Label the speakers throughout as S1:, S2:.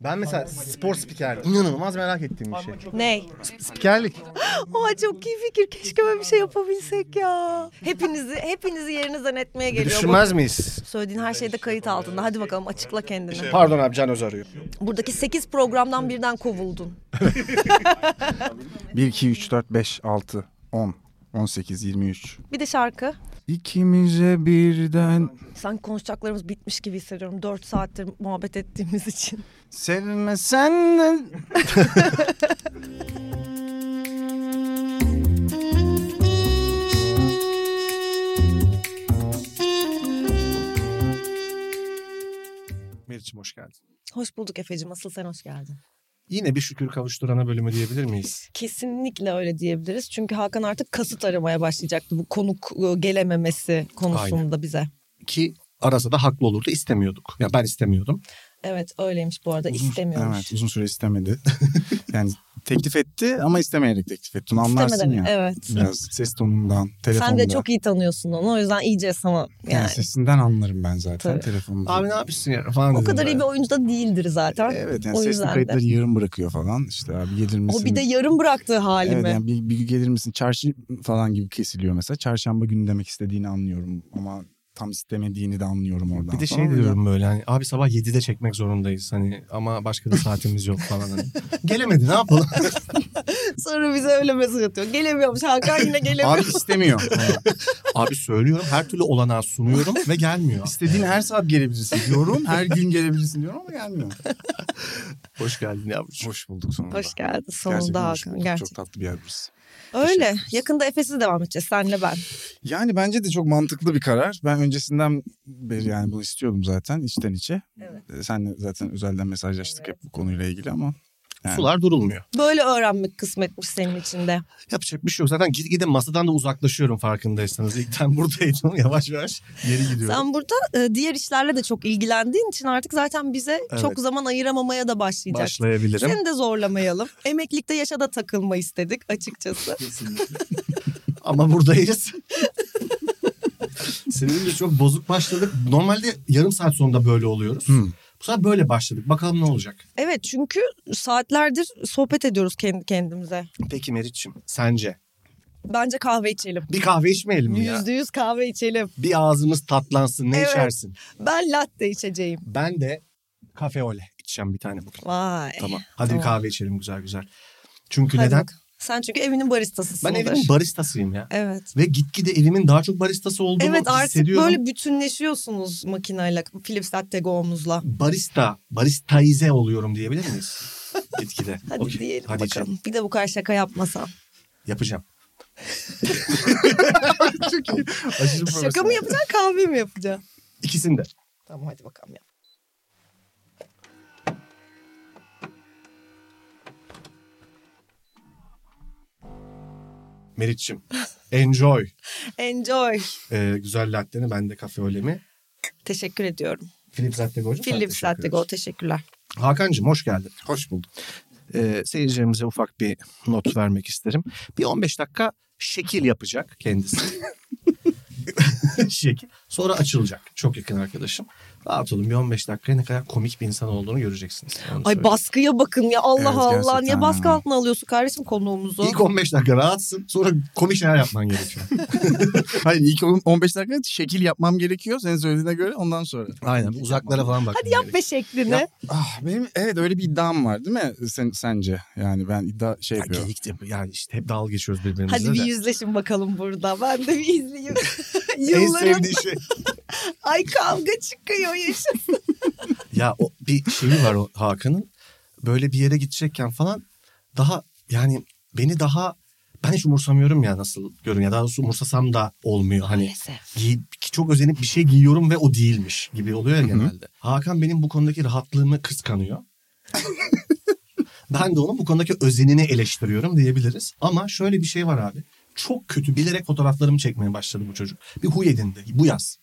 S1: Ben mesela spor spikerlik inanılmaz merak ettiğim bir şey.
S2: Ney?
S1: Spikerlik.
S2: Oha çok iyi fikir. Keşke böyle bir şey yapabilsek ya. Hepinizi hepinizi yerinizden etmeye
S1: Bir
S2: geliyor.
S1: düşünmez miyiz?
S2: Söylediğin her şey de kayıt altında. Hadi bakalım açıkla
S3: şey
S2: kendini.
S1: Pardon abi Can Öz arıyor.
S2: Buradaki 8 programdan birden kovuldun.
S4: 1, 2, 3, 4, 5, 6, 10, 18, 23.
S2: Bir de şarkı.
S4: İkimize birden
S2: Sanki konuşacaklarımız bitmiş gibi hissediyorum. 4 saattir muhabbet ettiğimiz için.
S4: sevmesen de...
S3: Meriç'im hoş geldin.
S2: Hoş bulduk Efe'cim. Asıl sen hoş geldin.
S3: Yine bir şükür kavuşturana bölümü diyebilir miyiz?
S2: Kesinlikle öyle diyebiliriz. Çünkü Hakan artık kasıt aramaya başlayacaktı bu konuk e, gelememesi konusunda bize.
S3: Ki arasa da haklı olurdu istemiyorduk. Ya ben istemiyordum.
S2: Evet öyleymiş bu arada istemiyormuş.
S4: Evet uzun süre istemedi. yani teklif etti ama istemeyerek teklif etti. Onu anlarsın
S2: İstemeden,
S4: ya.
S2: evet.
S4: Biraz ses tonundan, telefondan.
S2: Sen de çok iyi tanıyorsun onu o yüzden iyice sana
S4: yani.
S2: yani.
S4: sesinden anlarım ben zaten
S2: Tabii.
S4: telefonumda.
S3: Abi ne yapıyorsun ya falan
S2: O
S3: dedim
S2: kadar
S3: ben.
S2: iyi bir oyuncu da değildir zaten.
S4: Evet yani
S2: o
S4: sesli
S2: yüzden de.
S4: kayıtları yarım bırakıyor falan. İşte abi gelir misin?
S2: O bir de yarım bıraktığı hali
S4: Evet
S2: mi?
S4: yani bir, bir gün gelir misin çarşı falan gibi kesiliyor mesela. Çarşamba günü demek istediğini anlıyorum ama tam istemediğini de anlıyorum oradan.
S3: Bir de
S4: falan.
S3: şey diyorum böyle hani abi sabah 7'de çekmek zorundayız hani ama başka da saatimiz yok falan hani. Gelemedi ne yapalım?
S2: Sonra bize öyle mesaj atıyor. Gelemiyormuş Hakan yine
S4: Abi
S2: gelemiyor.
S4: istemiyor.
S3: abi söylüyorum her türlü olanağı sunuyorum ve gelmiyor.
S4: İstediğin her saat gelebilirsin diyorum. Her gün gelebilirsin diyorum ama gelmiyor.
S3: Hoş geldin yavrucuğum.
S4: Hoş bulduk sonunda.
S2: Hoş geldin sonunda
S4: Gerçekten hoş
S2: Hakan.
S4: bulduk.
S2: Gerçekten.
S4: Çok tatlı bir yer burası.
S2: Öyle. Yakında Efes'i devam edeceğiz senle ben.
S4: Yani bence de çok mantıklı bir karar. Ben öncesinden beri yani bunu istiyordum zaten içten içe. Evet. Senle zaten özelden mesajlaştık hep bu konuyla ilgili ama. Yani.
S3: Sular durulmuyor.
S2: Böyle öğrenmek kısmetmiş senin için de.
S3: Yapacak bir şey yok. Zaten gitgide masadan da uzaklaşıyorum farkındaysanız. İlkten buradaydım. Yavaş yavaş geri gidiyorum.
S2: Sen burada e, diğer işlerle de çok ilgilendiğin için artık zaten bize
S3: Evet.
S2: çok zaman ayıramamaya da başlayacaksın.
S3: Başlayabilirim.
S2: Seni de zorlamayalım. Emeklilikte yaşa da takılma istedik açıkçası.
S3: Ama buradayız. Seninle çok bozuk başladık. Normalde yarım saat sonunda böyle oluyoruz.
S4: Hmm.
S3: Bu sefer böyle başladık. Bakalım ne olacak?
S2: Evet çünkü saatlerdir sohbet ediyoruz kendi kendimize.
S3: Peki Meriç'im sence?
S2: Bence kahve içelim.
S3: Bir kahve içmeyelim mi ya?
S2: Yüzde yüz kahve içelim.
S3: Bir ağzımız tatlansın. Ne
S2: Evet.
S3: içersin?
S2: Ben latte içeceğim.
S3: Ben de kafe ole içeceğim bir tane bugün.
S2: Vay.
S3: Tamam. Hadi
S2: Eh, Tamam.
S3: bir kahve içelim güzel güzel. Çünkü
S2: Hadi
S3: neden?
S2: bak. Sen çünkü evinin baristasısın.
S3: Ben evimin baristasıyım ya.
S2: Evet.
S3: Ve gitgide evimin daha çok baristası olduğunu
S2: Evet artık
S3: hissediyorum.
S2: böyle bütünleşiyorsunuz makinayla, Philips Latte Go'muzla.
S3: barista, baristaize oluyorum diyebilir miyiz? Gitgide.
S2: Hadi
S3: Okey.
S2: diyelim
S3: Hadi
S2: bakalım.
S3: canım.
S2: Bir de bu kadar şaka yapmasan.
S3: Yapacağım. Aşırı
S2: Şaka mı yapacaksın kahve mi yapacaksın?
S3: İkisini de.
S2: Tamam hadi bakalım yap.
S3: Meriç'im. Enjoy.
S2: Enjoy.
S3: Ee, güzel latteni. Ben de kafe olemi.
S2: Teşekkür ediyorum.
S3: Philips Latte Go'cum. sana
S2: Philips
S3: teşekkür
S2: Latte
S3: ederim.
S2: Go teşekkürler.
S3: Hakan'cığım hoş geldin.
S4: Hoş bulduk.
S3: Ee, seyircilerimize ufak bir not vermek isterim. Bir 15 dakika şekil yapacak kendisi. şekil. Sonra açılacak. Çok yakın arkadaşım. Rahat olun bir 15 dakikaya ne kadar komik bir insan olduğunu göreceksiniz. Onu
S2: Ay
S3: söyleyeyim.
S2: baskıya bakın ya Allah
S4: Evet,
S2: Allah.
S4: gerçekten
S2: Niye baskı
S4: ha.
S2: altına alıyorsun kardeşim konuğumuzu?
S3: İlk 15 dakika rahatsın. Sonra komik şeyler yapman gerekiyor.
S4: Hayır ilk on- 15 dakika şekil yapmam gerekiyor senin söylediğine göre ondan sonra.
S3: Aynen. Uzaklara falan bak.
S2: Hadi yap be şeklini.
S3: Yap.
S4: Ah, benim evet öyle bir iddiam var değil mi sen, sence? Yani ben iddia şey yapıyorum.
S3: yani işte hep dalga geçiyoruz birbirimize
S2: Hadi bir
S3: de.
S2: yüzleşin bakalım burada. Ben de bir izleyeyim.
S3: En
S2: Yılların
S3: sevdiği şey.
S2: ay kavga çıkıyor yaşa.
S3: Ya o bir şeyi var o Hakan'ın. Böyle bir yere gidecekken falan daha yani beni daha ben hiç umursamıyorum ya nasıl görün ya daha doğrusu umursasam da olmuyor hani giy- çok özenip bir şey giyiyorum ve o değilmiş gibi oluyor ya genelde. Hakan benim bu konudaki rahatlığımı kıskanıyor. ben de onun bu konudaki özenini eleştiriyorum diyebiliriz. Ama şöyle bir şey var abi. Çok kötü bilerek fotoğraflarımı çekmeye başladı bu çocuk. Bir huy edindi bu yaz.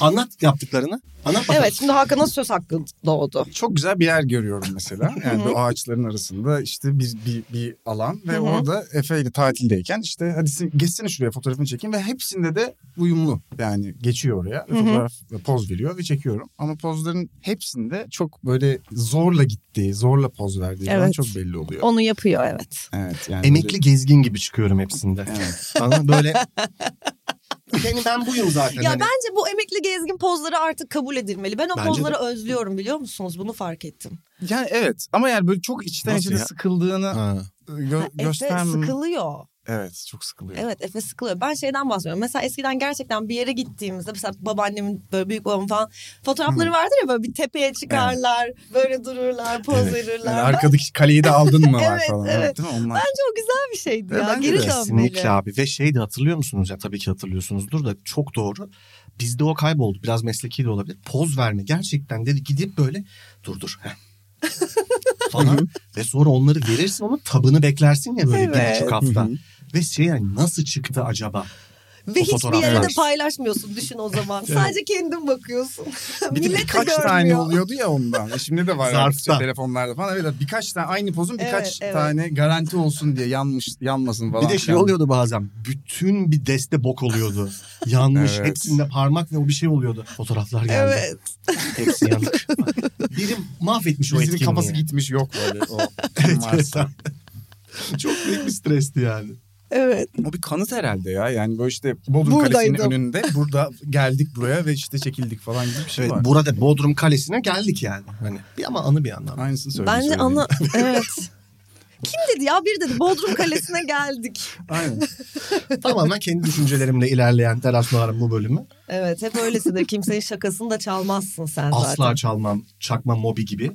S3: Anlat yaptıklarını. Anlat bakalım.
S2: Evet şimdi Hakan'a söz hakkı doğdu.
S4: Çok güzel bir yer görüyorum mesela. Yani bu ağaçların arasında işte bir bir, bir alan ve
S2: Hı hı.
S4: orada Efe ile tatildeyken işte hadi sen- geçsene şuraya fotoğrafını çekeyim ve hepsinde de uyumlu. Yani geçiyor oraya ve
S2: Hı hı.
S4: fotoğraf ve poz veriyor ve çekiyorum. Ama pozların hepsinde çok böyle zorla gittiği, zorla poz verdiği falan
S2: Evet.
S4: çok belli oluyor.
S2: Onu yapıyor evet.
S4: Evet yani
S3: Emekli gezgin gibi çıkıyorum hepsinde.
S4: böyle- Evet.
S3: Bana böyle benim ben buyum zaten.
S2: Ya
S3: hani.
S2: bence bu emekli gezgin pozları artık kabul edilmeli. Ben o
S3: Bence de.
S2: pozları özlüyorum biliyor musunuz? Bunu fark ettim.
S4: Yani evet ama yani böyle çok içten
S3: Nasıl
S4: içe de
S3: ya?
S4: sıkıldığını e,
S3: Ha.
S4: gö-
S2: Efe
S4: göstermem.
S2: sıkılıyor.
S4: Evet çok sıkılıyor.
S2: Evet Efe sıkılıyor. Ben şeyden bahsediyorum. Mesela eskiden gerçekten bir yere gittiğimizde mesela babaannemin böyle büyük babamın falan fotoğrafları vardır ya böyle bir tepeye çıkarlar. Böyle dururlar, poz
S3: Evet.
S2: verirler.
S4: Yani arkadaki kaleyi de aldın mı var
S2: Evet,
S4: falan.
S2: evet.
S4: Değil mi? Onlar...
S2: Bence o güzel bir şeydi
S4: Ve
S2: ya.
S4: E, bence
S2: Geri
S4: de
S2: dönmeli.
S3: Kesinlikle abi ve şey de hatırlıyor musunuz ya tabii ki hatırlıyorsunuzdur da çok doğru. Bizde o kayboldu biraz mesleki de olabilir. Poz verme gerçekten dedi gidip böyle dur dur. heh. falan ve sonra onları verirsin onun tabını beklersin ya böyle bir
S2: Evet.
S3: buçuk hafta. ve şey yani nasıl çıktı acaba?
S2: Ve
S3: O
S2: hiçbir yere de
S3: fotoğraflar.
S2: paylaşmıyorsun düşün o zaman. Sadece kendin bakıyorsun.
S4: Bir de
S2: Millet de
S4: birkaç
S2: görmüyor.
S4: tane oluyordu ya ondan. E Şimdi de var
S3: Zarfta.
S4: artık işte telefonlarda falan. Evet birkaç tane aynı pozun birkaç
S2: Evet, evet.
S4: tane garanti olsun diye yanmış yanmasın falan.
S3: Bir de şey
S4: Yani
S3: oluyordu bazen. Bütün bir deste bok oluyordu. Yanmış.
S4: Evet.
S3: Hepsinde parmak ve o bir şey oluyordu. Fotoğraflar geldi.
S2: Evet.
S3: Hepsi yanık. Biri mahvetmiş o
S4: Birinin
S3: etkinliği.
S4: kafası gitmiş yok böyle o.
S3: evet.
S4: varsa.
S3: Çok büyük bir stresti yani.
S2: Evet.
S4: o bir kanıt herhalde ya. Yani böyle işte Bodrum Kalesi'nin
S2: Buradaydım.
S4: önünde burada geldik buraya ve işte çekildik falan gibi bir şey
S3: Evet,
S4: var.
S3: burada Bodrum Kalesi'ne geldik yani. Hani bir ama anı bir yandan.
S4: Aynısını söyledim.
S2: Bence
S4: söyleyeyim.
S2: ana... Evet. Kim dedi ya? Biri dedi Bodrum Kalesi'ne geldik.
S4: Aynen.
S3: Tamamen kendi düşüncelerimle ilerleyen Teras Nuhar'ın bu bölümü.
S2: Evet hep öylesidir. Kimsenin şakasını da çalmazsın sen zaten.
S3: Asla çalmam, çakma mobi gibi.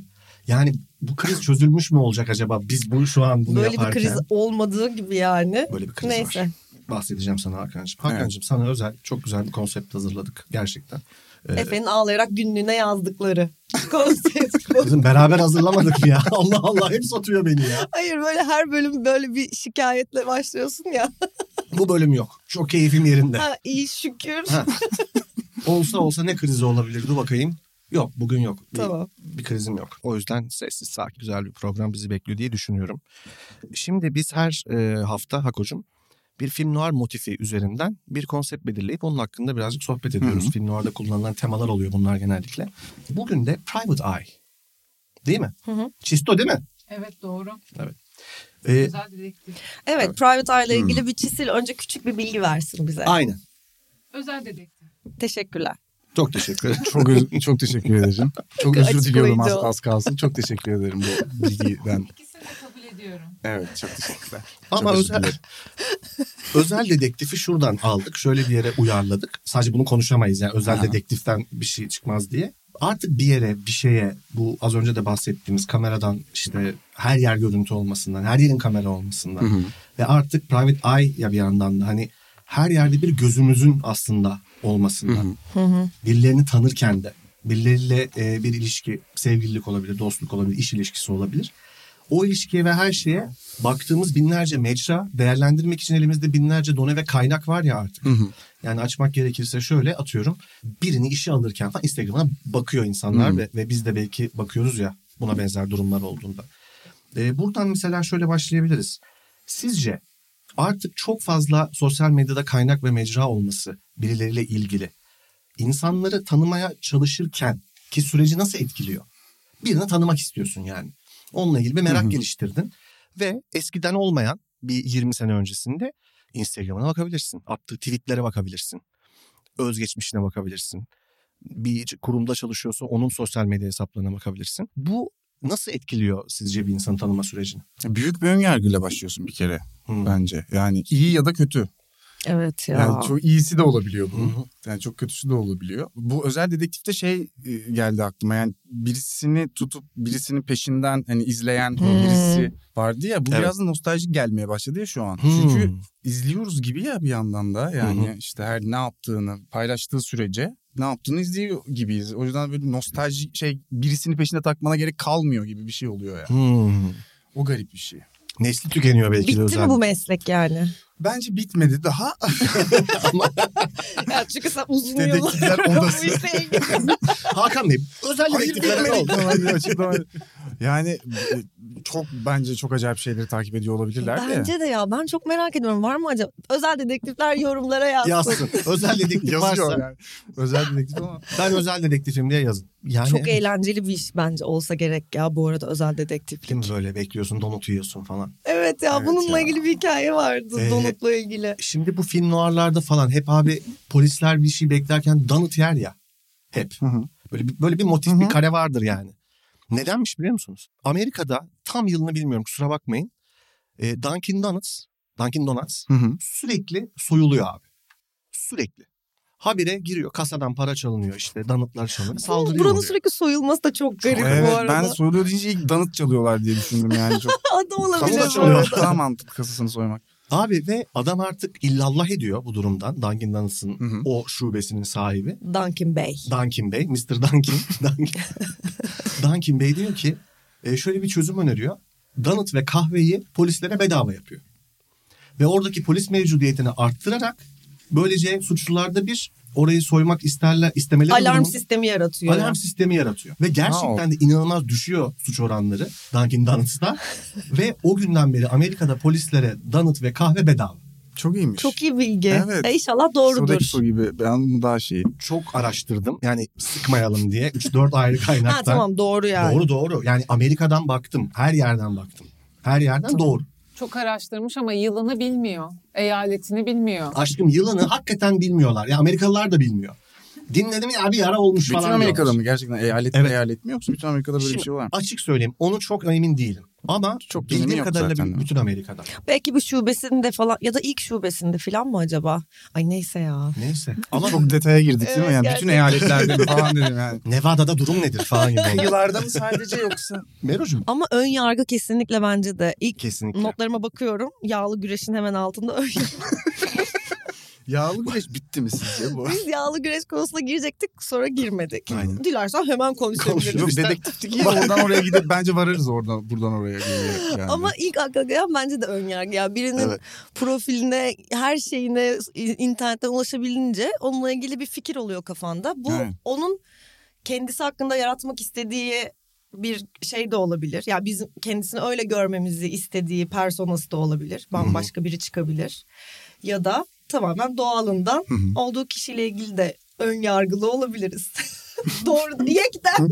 S3: Yani bu kriz çözülmüş mü olacak acaba? Biz bu şu an bunu
S2: Böyle bir
S3: yaparken.
S2: kriz olmadığı gibi yani.
S3: Böyle bir kriz
S2: Neyse.
S3: var. bahsedeceğim sana Hakan'cığım. Hakan'cığım sana özel çok güzel bir konsept hazırladık gerçekten. Ee,
S2: Efe'nin ağlayarak günlüğüne yazdıkları. Konsept bu.
S3: Kızım beraber hazırlamadık mı ya? Allah Allah hep satıyor beni ya.
S2: Hayır böyle her bölüm böyle bir şikayetle başlıyorsun ya.
S3: Bu bölüm yok. Çok keyfim yerinde.
S2: Ha, iyi şükür.
S3: Ha. Olsa olsa ne krizi olabilir? Dur bakayım. Yok bugün yok. Bir-
S2: Tamam.
S3: bir krizim yok. O yüzden sessiz sakin güzel bir program bizi bekliyor diye düşünüyorum. Şimdi biz her e, hafta Hakocuğum bir film noir motifi üzerinden bir konsept belirleyip onun hakkında birazcık sohbet ediyoruz. Film noir'da kullanılan temalar oluyor bunlar genellikle. Bugün de Private Eye. Değil mi?
S2: Hı hı.
S3: Çisto değil mi?
S5: Evet doğru.
S3: E,
S5: Güzel dedektif.
S2: Evet Private Eye ile ilgili bir çisil önce küçük bir bilgi versin bize.
S3: aynen.
S5: Özel dedektif.
S2: Teşekkürler.
S3: Çok teşekkür ederim.
S4: Çok öz- çok teşekkür ederim. Çok özür
S2: Açıklayıcı
S4: diliyorum az,
S2: ol.
S4: az kalsın. Çok teşekkür ederim bu bilgiden.
S5: İkisini de kabul ediyorum.
S4: Evet çok teşekkürler.
S3: Ama
S4: özür
S3: özel,
S4: dilerim.
S3: özel dedektifi şuradan aldık. Şöyle bir yere uyarladık. Sadece bunu konuşamayız yani özel
S4: Aha.
S3: dedektiften bir şey çıkmaz diye. Artık bir yere, bir şeye bu az önce de bahsettiğimiz kameradan işte her yer görüntü olmasından, her yerin kamera olmasından
S4: hı.
S3: ve artık private eye ya bir yandan da hani her yerde bir gözümüzün aslında olmasından birilerini tanırken de birileriyle e, bir ilişki, sevgililik olabilir, dostluk olabilir, iş ilişkisi olabilir. O ilişkiye ve her şeye baktığımız binlerce mecra, değerlendirmek için elimizde binlerce done ve kaynak var ya artık. Yani açmak gerekirse şöyle atıyorum. Birini işe alırken falan Instagram'a bakıyor insanlar ve, ve biz de belki bakıyoruz ya buna benzer durumlar olduğunda. E, buradan mesela şöyle başlayabiliriz. Sizce artık çok fazla sosyal medyada kaynak ve mecra olması birileriyle ilgili insanları tanımaya çalışırken ki süreci nasıl etkiliyor? Birini tanımak istiyorsun yani. Onunla ilgili bir merak geliştirdin ve eskiden olmayan bir 20 sene öncesinde Instagram'ına bakabilirsin. Attığı tweetlere bakabilirsin. Özgeçmişine bakabilirsin. Bir kurumda çalışıyorsa onun sosyal medya hesaplarına bakabilirsin. Bu nasıl etkiliyor sizce bir insanı tanıma sürecini?
S4: Büyük bir önyargıyla başlıyorsun bir kere
S3: Hmm.
S4: bence. Yani iyi ya da kötü.
S2: Evet ya.
S4: Yani çok iyisi de olabiliyor
S3: Hı
S4: bunun. Yani çok kötüsü de olabiliyor. Bu özel dedektifte şey e, geldi aklıma. Yani birisini tutup birisinin peşinden hani izleyen
S2: Hmm.
S4: birisi vardı ya. Bu
S3: Evet.
S4: biraz da nostaljik gelmeye başladı ya şu an.
S3: Çünkü
S4: Çünkü izliyoruz gibi ya bir yandan da. Yani işte her ne yaptığını paylaştığı sürece ne yaptığını izliyor gibiyiz. O yüzden böyle nostalji şey birisini peşinde takmana gerek kalmıyor gibi bir şey oluyor ya.
S3: Hmm.
S4: O garip bir şey.
S3: nesli tükeniyor belki de
S2: Bitti
S3: özel.
S2: mi bu meslek yani?
S4: Bence bitmedi daha.
S2: Ya çünkü sen uzun
S4: Dedektifler
S2: yıllar
S4: odası.
S2: bu işle ilgili-
S3: Hakan Bey özel
S4: Hayır
S3: dedektiflere ne
S4: bitmedi.
S3: oldu?
S4: Tamam, bir açıklama. yani e, çok bence çok acayip şeyleri takip ediyor olabilirler de.
S2: Bence de ya ben çok merak ediyorum var mı acaba? Özel dedektifler yorumlara yazsın.
S3: Yazsın. Özel dedektif
S4: Yazıyor
S3: varsa
S4: yani. Özel dedektif ama.
S3: ben özel dedektifim diye yazın. Yani
S2: Çok eğlenceli bir iş bence olsa gerek ya bu arada özel dedektiflik.
S3: Değil mi böyle bekliyorsun donut yiyorsun falan.
S2: Evet ya
S3: Evet
S2: bununla
S3: ya.
S2: ilgili bir hikaye vardı
S3: Ee,
S2: donutla ilgili.
S3: Şimdi bu film noirlarda falan hep abi polisler bir şey beklerken donut yer ya. Hep.
S4: Hı hı.
S3: Böyle bir, böyle bir motif
S4: Hı hı.
S3: bir kare vardır yani. Nedenmiş biliyor musunuz? Amerika'da tam yılını bilmiyorum kusura bakmayın. E, Dunkin Donuts, Dunkin Donuts
S4: Hı hı.
S3: sürekli soyuluyor abi. Sürekli. Habire giriyor kasadan para çalınıyor işte donutlar çalınıyor saldırıyor.
S2: Buranın
S3: oluyor.
S2: sürekli soyulması da çok garip bu
S4: Evet,
S2: arada.
S4: ben soyuluyor deyince ilk danıt çalıyorlar diye düşündüm yani. Çok
S2: Adam olabilir.
S4: kasa
S3: Kasa
S2: bu
S3: çalıyor.
S4: çalıyor.
S2: arada.
S4: Daha mantıklı kasasını soymak.
S3: Abi ve adam artık illallah ediyor bu durumdan. Dunkin Donuts'ın
S4: Hı hı.
S3: o şubesinin sahibi.
S2: Duncan Bey.
S3: Duncan Bey, Mr. Duncan. Duncan, Duncan Bey diyor ki e, şöyle bir çözüm öneriyor. Donut ve kahveyi polislere bedava yapıyor. Ve oradaki polis mevcudiyetini arttırarak böylece suçlularda bir orayı soymak isterler istemeleri
S2: Alarm
S3: durumu-
S2: sistemi yaratıyor.
S3: alarm sistemi yaratıyor. Ve gerçekten de inanılmaz düşüyor suç oranları Dunkin Donuts'ta. ve o günden beri Amerika'da polislere donut ve kahve bedava.
S4: Çok iyiymiş.
S2: Çok iyi bilgi.
S4: Evet.
S2: E, inşallah doğrudur.
S4: Sodaki su gibi. Ben bunu daha şey- şeyi.
S3: Çok araştırdım. Yani sıkmayalım diye 3-4 ayrı kaynaktan.
S2: Ha tamam doğru yani.
S3: Doğru doğru. Yani Amerika'dan baktım. Her yerden baktım. Her yerden doğru.
S5: Çok araştırmış ama yılını bilmiyor. Eyaletini bilmiyor.
S3: Aşkım yılını hakikaten bilmiyorlar. Ya Amerikalılar da bilmiyor. Dinledim ya bir ara olmuş
S4: Bütün
S3: falan.
S4: Amerika'da
S3: diyorlar.
S4: mı? Gerçekten eyalet mi
S3: Evet.
S4: eyalet mi yoksa bütün Amerika'da böyle bir
S3: Şimdi
S4: şey var mı?
S3: Açık söyleyeyim onu çok emin değilim. Ama
S4: Çok
S3: çok
S4: bir önemi
S3: bildiğim
S4: yok
S3: kadarıyla
S4: zaten, değil mi?
S3: bütün Amerika'da.
S2: Belki bir şubesinde falan ya da ilk şubesinde falan mı acaba? Ay neyse ya.
S3: Neyse. Ama
S4: Çok detaya girdik değil
S2: Evet,
S4: mi? Yani bütün
S2: gerçekten.
S4: eyaletlerde mi falan dedim yani.
S3: Nevada'da durum nedir falan gibi. oldu.
S4: Yıllarda mı sadece yoksa?
S3: Merocuğum.
S2: Ama ön yargı kesinlikle bence de. İlk
S3: Kesinlikle.
S2: notlarıma bakıyorum. Yağlı güreşin hemen altında ön yargı.
S4: Yağlı güreş bitti mi sizce bu?
S2: Biz yağlı güreş konusuna girecektik sonra girmedik.
S3: Aynen.
S2: Dilersen hemen konuşabiliriz.
S4: Yok
S3: İşte-
S4: dedektiflik iyi. Oradan oraya gidip bence varırız oradan buradan oraya. diyerek Yani.
S2: Ama ilk akla gelen bence de ön yargı. Ya birinin
S3: Evet.
S2: profiline, her şeyine i- internetten ulaşabilince onunla ilgili bir fikir oluyor kafanda. Bu
S4: Evet.
S2: onun kendisi hakkında yaratmak istediği bir şey de olabilir. Ya bizim kendisini öyle görmemizi istediği personası da olabilir. Bambaşka biri çıkabilir. Ya da tamamen doğalından olduğu kişiyle ilgili de ön yargılı olabiliriz. Doğru. Yekten.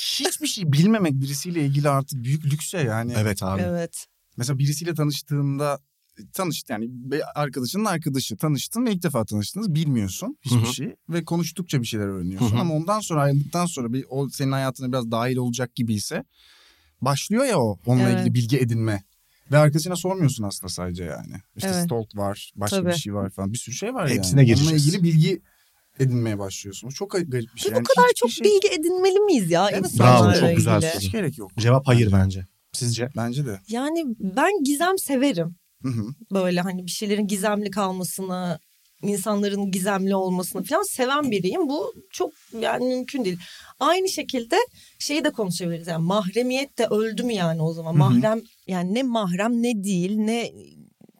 S4: hiçbir şey bilmemek birisiyle ilgili artık büyük lüks ya yani.
S3: Evet abi.
S2: Evet.
S4: Mesela birisiyle tanıştığında tanıştın yani bir arkadaşının arkadaşı tanıştın ve ilk defa tanıştınız bilmiyorsun hiçbir
S3: Hı hı.
S4: şeyi ve konuştukça bir şeyler öğreniyorsun
S3: Hı hı.
S4: ama ondan sonra ayrıldıktan sonra bir o senin hayatına biraz dahil olacak gibi ise başlıyor ya o onunla
S2: Evet.
S4: ilgili bilgi edinme ve arkadaşına sormuyorsun aslında sadece yani işte
S2: Evet.
S4: stalk var başka bir
S2: Tabii.
S4: şey var falan bir sürü şey var
S3: Hepsine
S4: yani onunla
S3: gireceğiz.
S4: ilgili bilgi edinmeye başlıyorsun O çok garip bir şey
S2: Biz
S4: yani
S2: bu kadar
S4: hiçbir
S2: çok
S4: şey-
S2: bilgi edinmeli miyiz ya
S4: Evet,
S2: insanlarla
S3: bravo, çok güzel
S2: ilgili?
S3: soru.
S4: hiç gerek yok
S3: Cevap hayır bence. Sizce?
S4: bence de
S2: Yani ben gizem severim.
S4: Hı hı.
S2: Böyle hani bir şeylerin gizemli kalmasını, insanların gizemli olmasını falan seven biriyim. Bu çok yani mümkün değil. Aynı şekilde şeyi de konuşabiliriz. Yani mahremiyet de öldü mü yani o zaman?
S4: Hı hı.
S2: Mahrem yani ne mahrem ne değil ne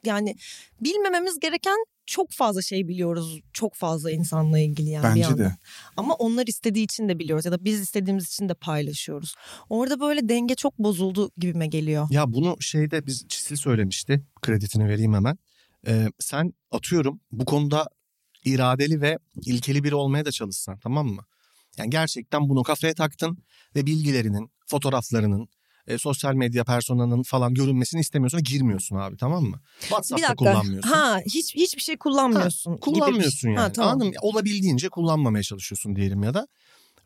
S2: yani bilmememiz gereken çok fazla şey biliyoruz. Çok fazla insanla ilgili yani bir
S4: bence
S2: yandan.
S4: de
S2: Ama onlar istediği için de biliyoruz ya da biz istediğimiz için de paylaşıyoruz. Orada böyle denge çok bozuldu gibime geliyor.
S3: Ya bunu şeyde biz Çisil söylemişti. Kredisini vereyim hemen. Ee, sen atıyorum bu konuda iradeli ve ilkeli biri olmaya da çalışsan tamam mı? Yani gerçekten bunu kafaya taktın ve bilgilerinin, fotoğraflarının, e, sosyal medya personanın falan görünmesini istemiyorsun ve girmiyorsun abi tamam mı?
S2: Bir
S3: WhatsApp'ta
S2: dakika.
S3: kullanmıyorsun.
S2: Ha, hiç hiçbir şey kullanmıyorsun. gibi bir-
S3: Kullanmıyorsun yani.
S2: Ha, tamam.
S3: Anladın mı? Olabildiğince kullanmamaya çalışıyorsun diyelim ya da.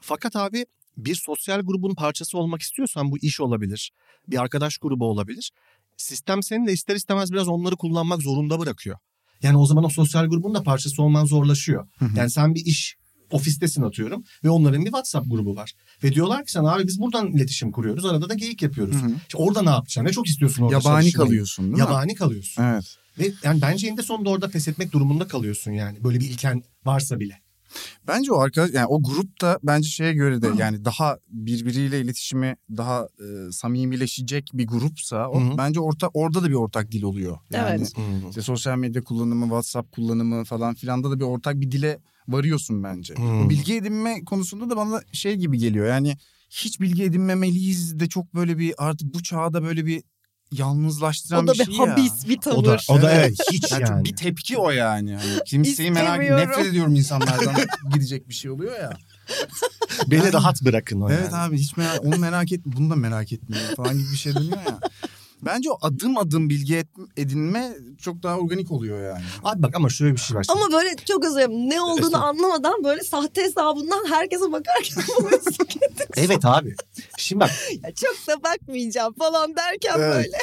S3: Fakat abi bir sosyal grubun parçası olmak istiyorsan bu iş olabilir. Bir arkadaş grubu olabilir. Sistem seni de ister istemez biraz onları kullanmak zorunda bırakıyor. Yani o zaman o sosyal grubun da parçası olman zorlaşıyor. Yani sen bir iş ofistesin atıyorum ve onların bir WhatsApp grubu var. Ve diyorlar ki sana abi biz buradan iletişim kuruyoruz. Arada da geyik yapıyoruz.
S4: Hı hı.
S3: İşte orada ne yapacaksın? Ne çok istiyorsun orada
S4: Yabani
S3: çalışmayı?
S4: kalıyorsun değil mi?
S3: Yabani kalıyorsun.
S4: Evet.
S3: Ve yani bence eninde sonunda orada pes etmek durumunda kalıyorsun yani. Böyle bir ilken varsa bile.
S4: Bence o arkadaş yani o grupta bence şeye göre de yani daha birbiriyle iletişimi daha e, samimileşecek bir grupsa o,
S3: Hı hı.
S4: bence orta orada da bir ortak dil oluyor. Yani
S2: Evet.
S3: Hmm.
S4: işte sosyal medya kullanımı, WhatsApp kullanımı falan filanda da bir ortak bir dile varıyorsun bence.
S3: Hmm.
S4: Bu bilgi edinme konusunda da bana şey gibi geliyor. Yani hiç bilgi edinmemeliyiz de çok böyle bir artık bu çağda böyle bir yalnızlaştıran
S2: O da
S4: bir
S2: bir
S4: şey ya.
S2: habis, bir tavır.
S3: O da, o da evet, hiç
S4: Yani
S3: yani.
S4: çok bir tepki o yani. Hani kimseyi merak
S2: İstemiyorum.
S4: nefret ediyorum insanlardan gidecek bir şey oluyor ya.
S3: Beni rahat bırakın o
S4: Evet
S3: yani.
S4: abi hiç merak onu merak et bunu da merak etmiyorum falan gibi bir şey dönüyor ya. Bence o adım adım bilgi et- edinme çok daha organik oluyor yani.
S3: Abi bak ama şöyle bir şey var.
S2: Ama böyle çok özür dilerim. Ne olduğunu anlamadan böyle sahte hesabından herkese bakarken buluyorsun.
S3: Evet abi. Şimdi bak
S2: Ya çok da bakmayacağım falan derken
S4: Evet.
S2: böyle.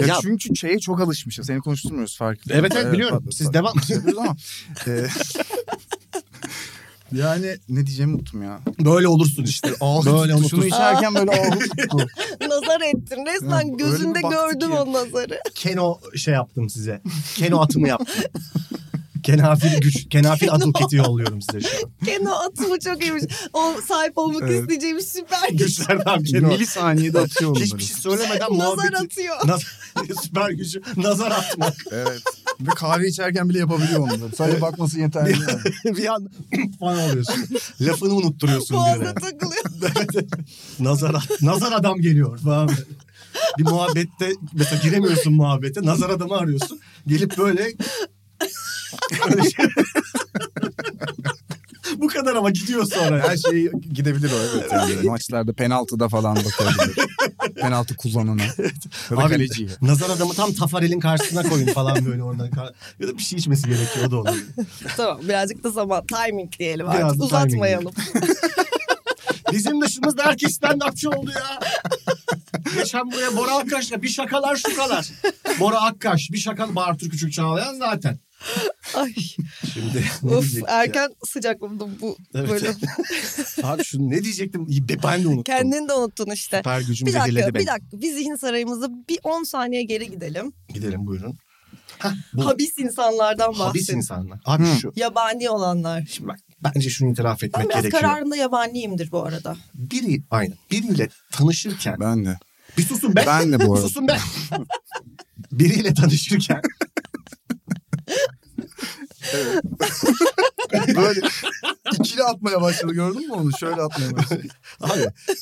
S4: Ya,
S3: Ya-
S4: çünkü şeye çok alışmışız. Seni konuşturmuyoruz farkında.
S3: Evet, evet, biliyorum. Siz
S4: fark-
S3: devam.
S4: şey yapıyoruz ama. e, yani ne diyeceğimi unuttum ya.
S3: böyle olursun işte.
S4: Ah,
S3: Böyle
S4: tuttu. Şunu
S3: unutursun.
S4: içerken böyle ah tuttu.
S2: Nazar ettin.
S4: Ya,
S2: Resmen
S4: öyle bir
S2: gözünde
S4: baktı
S2: gördüm
S4: ki.
S2: o nazarı.
S3: Keno şey yaptım size. Keno atımı yaptım. Kenafil güç, kenafil atıl keti yolluyorum size şu an.
S2: Keno atımı çok iyiymiş. O sahip olmak
S4: Evet.
S2: isteyeceğim süper güç.
S3: Güçlerden Keno.
S4: Milisaniyede atıyor onları.
S3: Hiçbir şey söylemeden
S2: Nazar
S3: muhabbeti.
S2: atıyor.
S3: Nazar, süper gücü. Nazar atmak.
S4: Evet. Ve kahve içerken bile yapabiliyor onları. Sadece bakması yeterli. yani.
S3: bir an falan oluyorsun. Lafını unutturuyorsun birine.
S2: Boğazda takılıyor.
S3: nazar, nazar adam geliyor falan. bir muhabbette mesela giremiyorsun muhabbete. Nazar adamı arıyorsun. Gelip böyle... Öyle şey- Bu kadar ama gidiyor sonra.
S4: Her şey gidebilir o evet. Yani. Maçlarda penaltıda falan bakabilir. Penaltı kullanana. Ya da
S3: Abi,
S4: kaleciye.
S3: Nazar adamı tam Tafarel'in karşısına koyun falan böyle oradan. kar- Ya da bir şey içmesi gerekiyor o da olabilir.
S2: tamam birazcık da zaman. Timing diyelim
S3: Biraz
S2: artık.
S3: da timing.
S2: Uzatmayalım.
S3: Bizim dışımızda herkes stand-upçı oldu ya. Geçen buraya Bora Akkaş'la bir şakalar şukalar. Bora Akkaş bir şaka Bartur Küçük Çağlayan zaten.
S2: Ay,
S3: Şimdi ne
S2: of
S3: diyecektim ya?
S2: erken sıcakladım bu
S3: Evet.
S2: böyle.
S3: Abi şunu ne diyecektim? Be- Ben de unuttum.
S2: Kendini de unuttun işte.
S3: Süper gücüm
S2: Bir dakika,
S3: zehirledi beni.
S2: bir dakika. Biz zihin sarayımızda bir 10 saniye geri gidelim.
S3: Gidelim buyurun. Hah, bu
S2: Habis insanlardan
S3: habis
S2: bahsedin.
S3: insanlar. Abi
S4: Hı.
S3: şu.
S2: Yabani olanlar.
S3: Şimdi bak bence şunu itiraf etmek
S2: Ben biraz
S3: gerekiyor.
S2: kararında yabaniyimdir bu arada.
S3: Biri aynen. Biriyle tanışırken.
S4: Ben de.
S3: Bir susun be.
S4: Ben de bu arada.
S3: Susun be. Biriyle tanışırken
S4: Böyle ikili atmaya başladı gördün mü onu? Şöyle atmaya başladı.
S3: Abi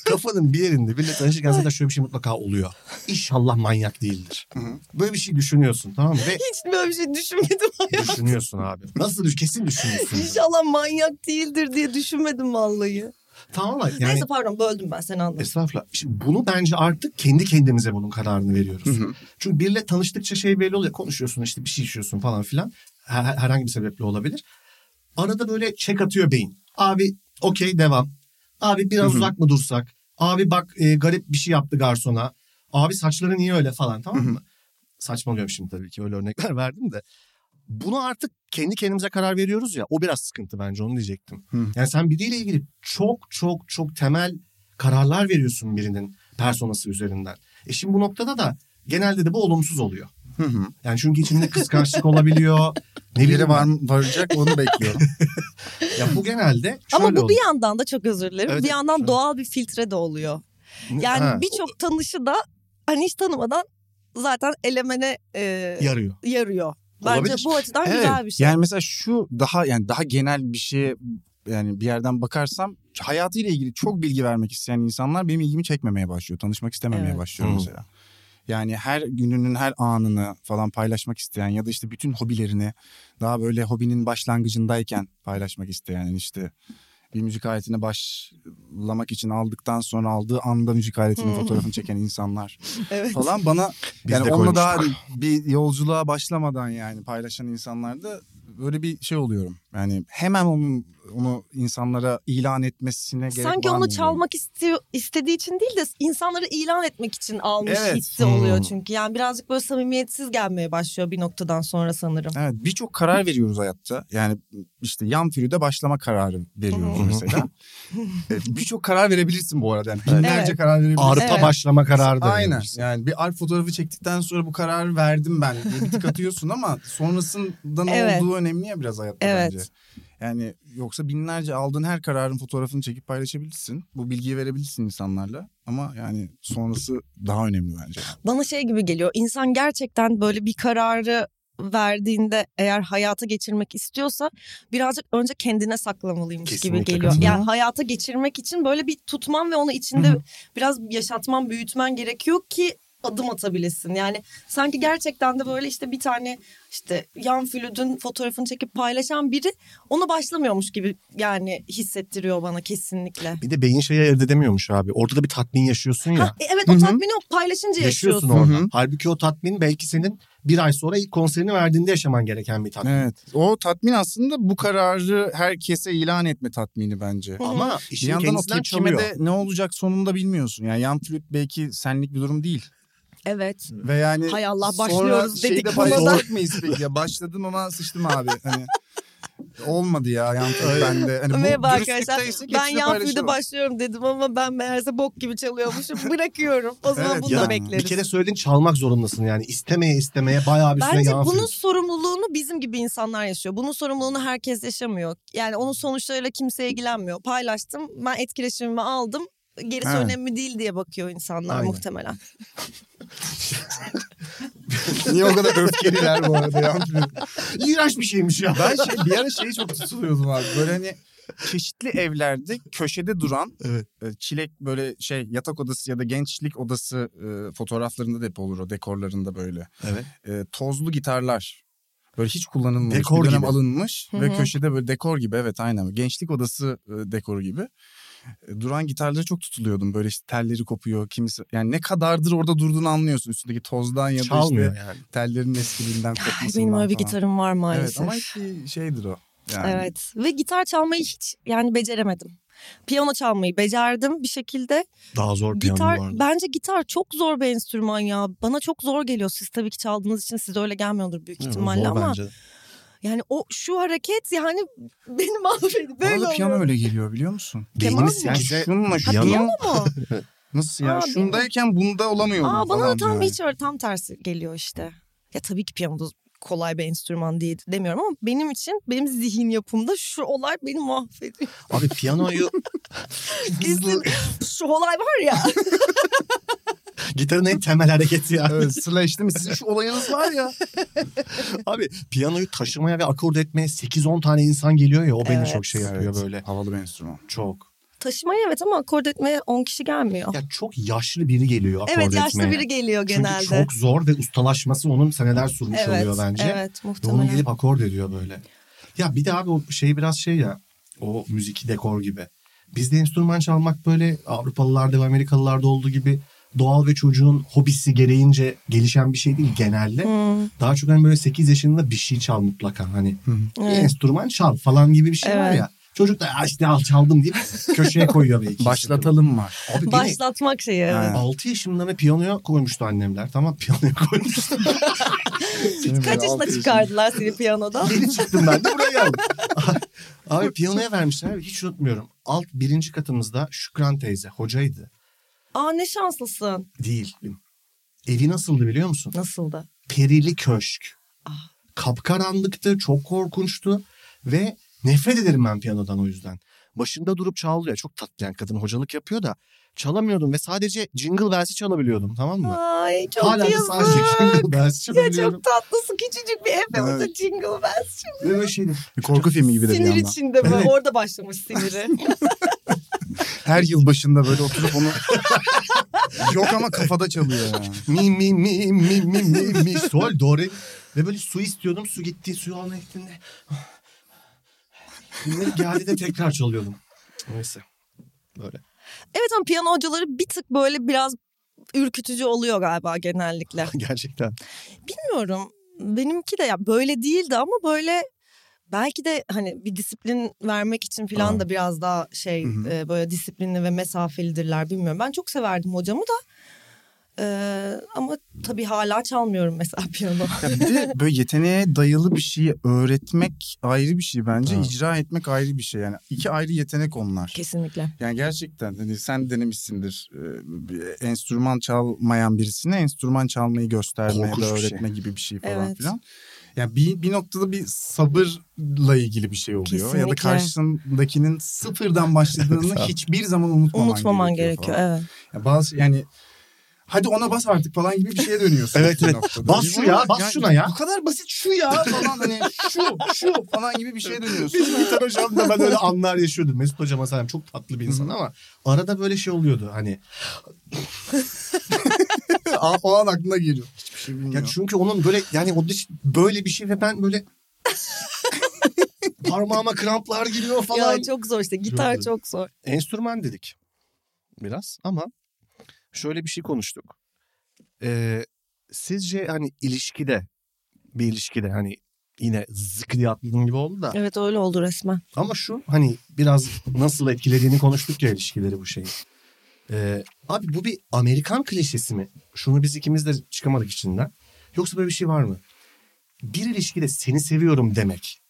S3: kafanın bir yerinde biriyle tanışırken zaten şöyle bir şey mutlaka oluyor. İnşallah manyak değildir. Böyle bir şey düşünüyorsun tamam mı? Ve
S2: Hiç böyle bir şey düşünmedim hayatım.
S3: düşünüyorsun abi. Nasıl düş? Kesin düşünüyorsun.
S2: İnşallah manyak değildir diye düşünmedim vallahi.
S3: tamam mı? Yani
S2: Neyse pardon böldüm ben seni anladım.
S3: Estağfurullah. Şimdi bunu bence artık kendi kendimize bunun kararını veriyoruz. Çünkü biriyle tanıştıkça şey belli oluyor. Konuşuyorsun işte bir şey içiyorsun falan filan. Her- herhangi bir sebeple olabilir. Arada böyle çek atıyor beyin. Abi okey devam. Abi biraz uzak mı dursak? Abi bak e, garip bir şey yaptı garsona. Abi saçları niye öyle falan tamam mı? Saçmalıyorum şimdi tabii ki öyle örnekler verdim de. Bunu artık kendi kendimize karar veriyoruz ya. O biraz sıkıntı bence onu diyecektim.
S4: Hı.
S3: Yani sen biriyle ilgili çok çok çok temel kararlar veriyorsun birinin personası üzerinden. E şimdi bu noktada da genelde de bu olumsuz oluyor.
S4: Hı hı.
S3: Yani çünkü içinde kıskançlık olabiliyor. Ne
S4: Biri
S3: bileyim
S4: var
S3: var.
S4: varacak onu bekliyorum.
S3: Ya bu genelde E, şöyle
S2: Ama bu
S3: oluyor.
S2: bir yandan da çok özür dilerim.
S3: Evet,
S2: bir yandan
S3: evet.
S2: doğal bir filtre de oluyor. Yani
S3: Ha,
S2: birçok tanışı da hani hiç tanımadan zaten elemene e,
S3: yarıyor.
S2: yarıyor. Bence
S3: Olabilir.
S2: bu açıdan
S3: Evet,
S2: güzel bir şey.
S4: Yani mesela şu daha yani daha genel bir şeye yani bir yerden bakarsam hayatıyla ilgili çok bilgi vermek isteyen insanlar benim ilgimi çekmemeye başlıyor. Tanışmak istememeye
S2: Evet.
S4: başlıyor
S3: Hı.
S4: mesela. Yani her gününün her anını falan paylaşmak isteyen ya da işte bütün hobilerini daha böyle hobinin başlangıcındayken paylaşmak isteyen yani işte bir müzik aletine başlamak için aldıktan sonra aldığı anda müzik aletinin
S2: Hı.
S4: fotoğrafını çeken insanlar
S2: Hmm. evet.
S4: falan bana
S3: Biz
S4: yani
S3: de
S4: onunla daha
S3: koymuştuk.
S4: bir yolculuğa başlamadan yani paylaşan insanlarda böyle bir şey oluyorum. Yani hemen onu, onu insanlara ilan etmesine gerek
S2: Sanki
S4: var mı
S2: onu
S4: diyorum.
S2: çalmak istiyor, istediği için değil de insanları ilan etmek için almış
S4: Evet.
S2: hissi oluyor
S3: Hmm.
S2: çünkü. Yani birazcık böyle samimiyetsiz gelmeye başlıyor bir noktadan sonra sanırım.
S4: Evet birçok karar veriyoruz hayatta. Yani işte yan de başlama kararı veriyoruz
S3: Hı hı.
S4: mesela. E, birçok karar verebilirsin bu arada. Yani binlerce
S2: Evet.
S4: karar verebilirsin.
S3: Arpa
S2: Evet.
S3: başlama kararı da
S4: Aynen.
S3: verebilirsin.
S4: Yani bir alp fotoğrafı çektikten sonra bu kararı verdim ben. diye Bir tık atıyorsun ama sonrasında ne
S2: Evet.
S4: olduğu önemli ya biraz hayatta
S2: Evet.
S4: bence. Yani yoksa binlerce aldığın her kararın fotoğrafını çekip paylaşabilirsin. Bu bilgiyi verebilirsin insanlarla. Ama yani sonrası daha önemli bence.
S2: Bana şey gibi geliyor. İnsan gerçekten böyle bir kararı verdiğinde eğer hayata geçirmek istiyorsa birazcık önce kendine saklamalıymış gibi
S3: Kesinlikle
S2: geliyor.
S3: katılıyorum.
S2: Yani hayata geçirmek için böyle bir tutman ve onu içinde
S4: Hı hı.
S2: biraz yaşatman, büyütmen gerekiyor ki adım atabilesin. Yani sanki gerçekten de böyle işte bir tane işte yan flütün fotoğrafını çekip paylaşan biri onu başlamıyormuş gibi yani hissettiriyor bana kesinlikle.
S3: Bir de beyin şeyi ayırt edemiyormuş abi. Orada da bir tatmin yaşıyorsun ya.
S2: Ha, e, evet o
S4: Hı hı.
S2: tatmini o paylaşınca yaşıyorsun.
S3: yaşıyorsun
S4: Hı
S3: orada.
S4: hı.
S3: Halbuki o tatmin belki senin bir ay sonra ilk konserini verdiğinde yaşaman gereken bir tatmin.
S4: Evet. O tatmin aslında bu kararı herkese ilan etme tatmini bence.
S2: Hı.
S3: Ama
S4: Bir
S3: işin
S4: yandan o
S3: kendisinden
S4: tepkime
S3: çalıyor.
S4: de ne olacak sonunda bilmiyorsun. Yani yan flüt belki senlik bir durum değil.
S2: Evet.
S4: Ve yani
S2: Hay Allah,
S4: sonra
S2: başlıyoruz
S4: şeyi de
S2: dedik
S4: paylaşacak
S2: buna
S4: mıyız peki? Ya başladım ama sıçtım abi. Hani olmadı ya yan flüt bende. Hani bu
S2: Merhaba
S4: dürüstlükte
S2: arkadaşlar.
S4: ise
S2: Ben
S4: geçişle
S2: yan flüte
S4: paylaşırım.
S2: başlıyorum dedim ama ben meğerse bok gibi çalıyormuşum. Bırakıyorum. O zaman
S4: Evet,
S2: bunu
S3: ya
S2: da
S3: da
S2: bekleriz.
S3: Bir kere söylediğin çalmak zorundasın yani. İstemeye istemeye bayağı bir süre
S2: Bence
S3: yan
S2: bunun
S3: flüt.
S2: sorumluluğunu bizim gibi insanlar yaşıyor. Bunun sorumluluğunu herkes yaşamıyor. Yani onun sonuçlarıyla kimse ilgilenmiyor. Paylaştım, ben etkileşimimi aldım. Gerisi
S4: Evet.
S2: önemli değil diye bakıyor insanlar
S3: Aynen.
S2: muhtemelen.
S4: Niye o kadar öfkeliler bu arada yan flüt?
S3: İğrenç bir şeymiş ya.
S4: Ben şey, bir ara şeyi çok tutuluyordum abi. Böyle hani çeşitli evlerde köşede duran
S3: Evet.
S4: e, çilek böyle şey yatak odası ya da gençlik odası e, fotoğraflarında da hep olur o dekorlarında böyle.
S3: Evet.
S4: E, tozlu gitarlar. Böyle hiç kullanılmamış.
S3: Dekor
S4: bir dönem
S3: gibi.
S4: alınmış
S2: Hı
S4: ve
S2: hı.
S4: köşede böyle dekor gibi evet aynen. Gençlik odası e, dekoru gibi. E, Duran gitarlara çok tutuluyordum. Böyle işte telleri kopuyor. Kimisi yani ne kadardır orada durduğunu anlıyorsun. Üstündeki tozdan ya da
S3: Çalmıyor
S4: işte
S3: yani.
S4: tellerin eskiliğinden
S2: Ay,
S4: kopmasından
S2: Ah, benim öyle bir
S4: falan.
S2: gitarım var
S4: Evet
S2: maalesef.
S4: ama hiç bir şeydir o. Yani.
S2: Evet ve gitar çalmayı hiç yani beceremedim. Piyano çalmayı becerdim bir şekilde.
S3: Daha zor piyano
S2: Gitar
S3: bu arada.
S2: bence gitar çok zor bir enstrüman ya. Bana çok zor geliyor. Siz tabii ki çaldığınız için size öyle gelmiyordur büyük
S3: Evet,
S2: ihtimalle
S3: zor
S2: ama
S3: bence de.
S2: yani o şu hareket yani benim mahvedi. Böyle
S4: Bana da piyano
S2: oluyor.
S4: öyle geliyor biliyor musun?
S3: Beynimiz
S2: mı?
S3: yani bize
S4: Şunla
S2: Ha,
S3: Piyano-
S4: şunu
S2: piyano mu?
S4: nasıl ya?
S2: Aa,
S4: Şundayken bunda olamıyorum
S2: Aa bana da
S4: falan
S2: tam
S4: yani.
S2: hiç öyle tam tersi geliyor işte. Ya tabii ki piyano da kolay bir enstrüman diye demiyorum ama benim için benim zihin yapımda şu olay beni mahvediyor.
S3: Abi piyanoyu
S2: Kesin şu olay var ya.
S3: gitarın en temel hareketi ya.
S4: Evet, slash değil mi? Sizin şu olayınız var ya.
S3: Abi piyanoyu taşımaya ve akord etmeye 8-10 tane insan geliyor ya o beni
S2: Evet.
S3: çok şey yapıyor
S4: Evet,
S3: böyle.
S4: Havalı bir enstrüman.
S3: Çok.
S2: Taşımayı evet ama akord etmeye 10 kişi gelmiyor.
S3: Ya çok yaşlı biri geliyor akord
S2: evet yaşlı
S3: etmeye.
S2: biri geliyor
S3: Çünkü
S2: genelde.
S3: çok zor ve ustalaşması onun seneler sürmüş
S2: evet,
S3: oluyor bence.
S2: Evet
S3: Ve onun
S2: muhtemelen.
S3: gelip akord ediyor böyle. Ya bir de abi o şey biraz şey ya o müziki dekor gibi. Bizde enstrüman çalmak böyle Avrupalılarda ve Amerikalılarda olduğu gibi doğal ve çocuğun hobisi gereğince gelişen bir şey değil genelde.
S2: Hmm,
S3: Daha çok hani böyle 8 yaşında bir şey çal mutlaka hani bir
S2: evet.
S3: enstrüman çal falan gibi bir şey var
S2: Evet.
S3: ya. Çocuk da "Ya işte al çaldım deyip köşeye koyuyor belki.
S4: Başlatalım var.
S3: Abi beni
S2: Başlatmak şeyi. evet.
S4: Ha.
S3: 6 yaşımda mı piyanoya koymuştu annemler. Tamam piyanoya koymuştu.
S2: Kaç yaşında çıkardılar seni piyanodan?
S3: Yeni çıktım ben de buraya geldim. Abi piyanoya vermişler. Hiç unutmuyorum. Alt birinci katımızda Şükran teyze hocaydı.
S2: Aa ne şanslısın.
S3: Değil. Evi nasıldı biliyor musun?
S2: Nasıldı?
S3: Perili köşk.
S2: Ah.
S3: Kapkaranlıktı. Çok korkunçtu. Ve nefret ederim ben piyanodan o yüzden. Başında durup çalıyor. Çok tatlı yani kadın hocalık yapıyor da çalamıyordum ve sadece jingle bells'i çalabiliyordum tamam mı?
S2: Ay çok
S3: Hala da
S2: yazık.
S3: sadece jingle bells
S2: Ya
S3: çalabiliyorum.
S2: çok tatlısın küçücük bir efe o da
S4: Evet.
S2: jingle bells.
S3: Ve böyle şey şeydi.
S4: Bir korku filmi gibi de bir
S2: Sinir
S4: yandan.
S2: içinde böyle
S3: Evet.
S2: orada başlamış siniri.
S4: Her yıl başında böyle oturup onu... Yok ama kafada çalıyor yani.
S3: mi mi mi mi mi mi mi sol do re ve böyle su istiyordum su gitti suyu almaya gittiğinde bunları geldi de tekrar çalıyordum. Neyse böyle.
S2: evet ama piyano hocaları bir tık böyle biraz ürkütücü oluyor galiba genellikle.
S3: Gerçekten.
S2: Bilmiyorum. Benimki de ya böyle değildi ama böyle belki de hani bir disiplin vermek için falan da biraz daha şey
S4: Hı hı.
S2: e, böyle disiplinli ve mesafelidirler bilmiyorum. Ben çok severdim hocamı da Ee, ama tabii hala çalmıyorum mesela piyano.
S4: Ya bir de böyle yeteneğe dayalı bir şeyi öğretmek ayrı bir şey bence.
S3: Ha.
S4: icra etmek ayrı bir şey. Yani iki ayrı yetenek onlar.
S2: Kesinlikle.
S4: Yani gerçekten hani sen denemişsindir. Ee, bir enstrüman çalmayan birisine enstrüman çalmayı göstermeye
S3: Korkunç
S4: de
S3: bir şey.
S4: öğretme gibi bir şey falan
S2: Evet.
S4: filan. Yani bir, bir noktada bir sabırla ilgili bir şey oluyor. Ya da
S2: Kesinlikle.
S4: karşısındakinin sıfırdan başladığını
S3: Evet abi.
S4: hiçbir zaman unutmaman,
S2: Unutmaman
S4: gerekiyor.
S2: gerekiyor.
S4: falan.
S2: Evet.
S4: Yani bazı yani hadi ona bas artık falan gibi bir şeye dönüyorsun.
S3: Evet,
S4: bir
S3: evet.
S4: noktada.
S3: Bas şu ya, bas şuna ya.
S4: Bu kadar basit şu ya falan hani şu şu falan gibi bir şeye dönüyorsun.
S3: Bizim gitar hocam da ben öyle anlar yaşıyordum. Mesut hocama selam çok tatlı bir insan ama arada böyle şey oluyordu hani.
S4: Aa, o an aklına geliyor. Hiçbir şey
S3: Ya
S4: bilmiyor.
S3: çünkü onun böyle yani o diş böyle bir şey ve ben böyle parmağıma kramplar giriyor falan.
S2: Ya çok zor işte
S3: Yok.
S2: gitar çok zor.
S3: enstrüman dedik biraz ama şöyle bir şey konuştuk. Ee, sizce hani ilişkide bir ilişkide hani yine zık diye atladığın gibi oldu da
S2: Evet öyle oldu resmen.
S3: ama şu hani biraz nasıl etkilediğini konuştuk ya ilişkileri bu şeyi. Ee, abi bu bir Amerikan klişesi mi? Şunu biz ikimiz de çıkamadık içinden. Yoksa böyle bir şey var mı? Bir ilişkide seni seviyorum demek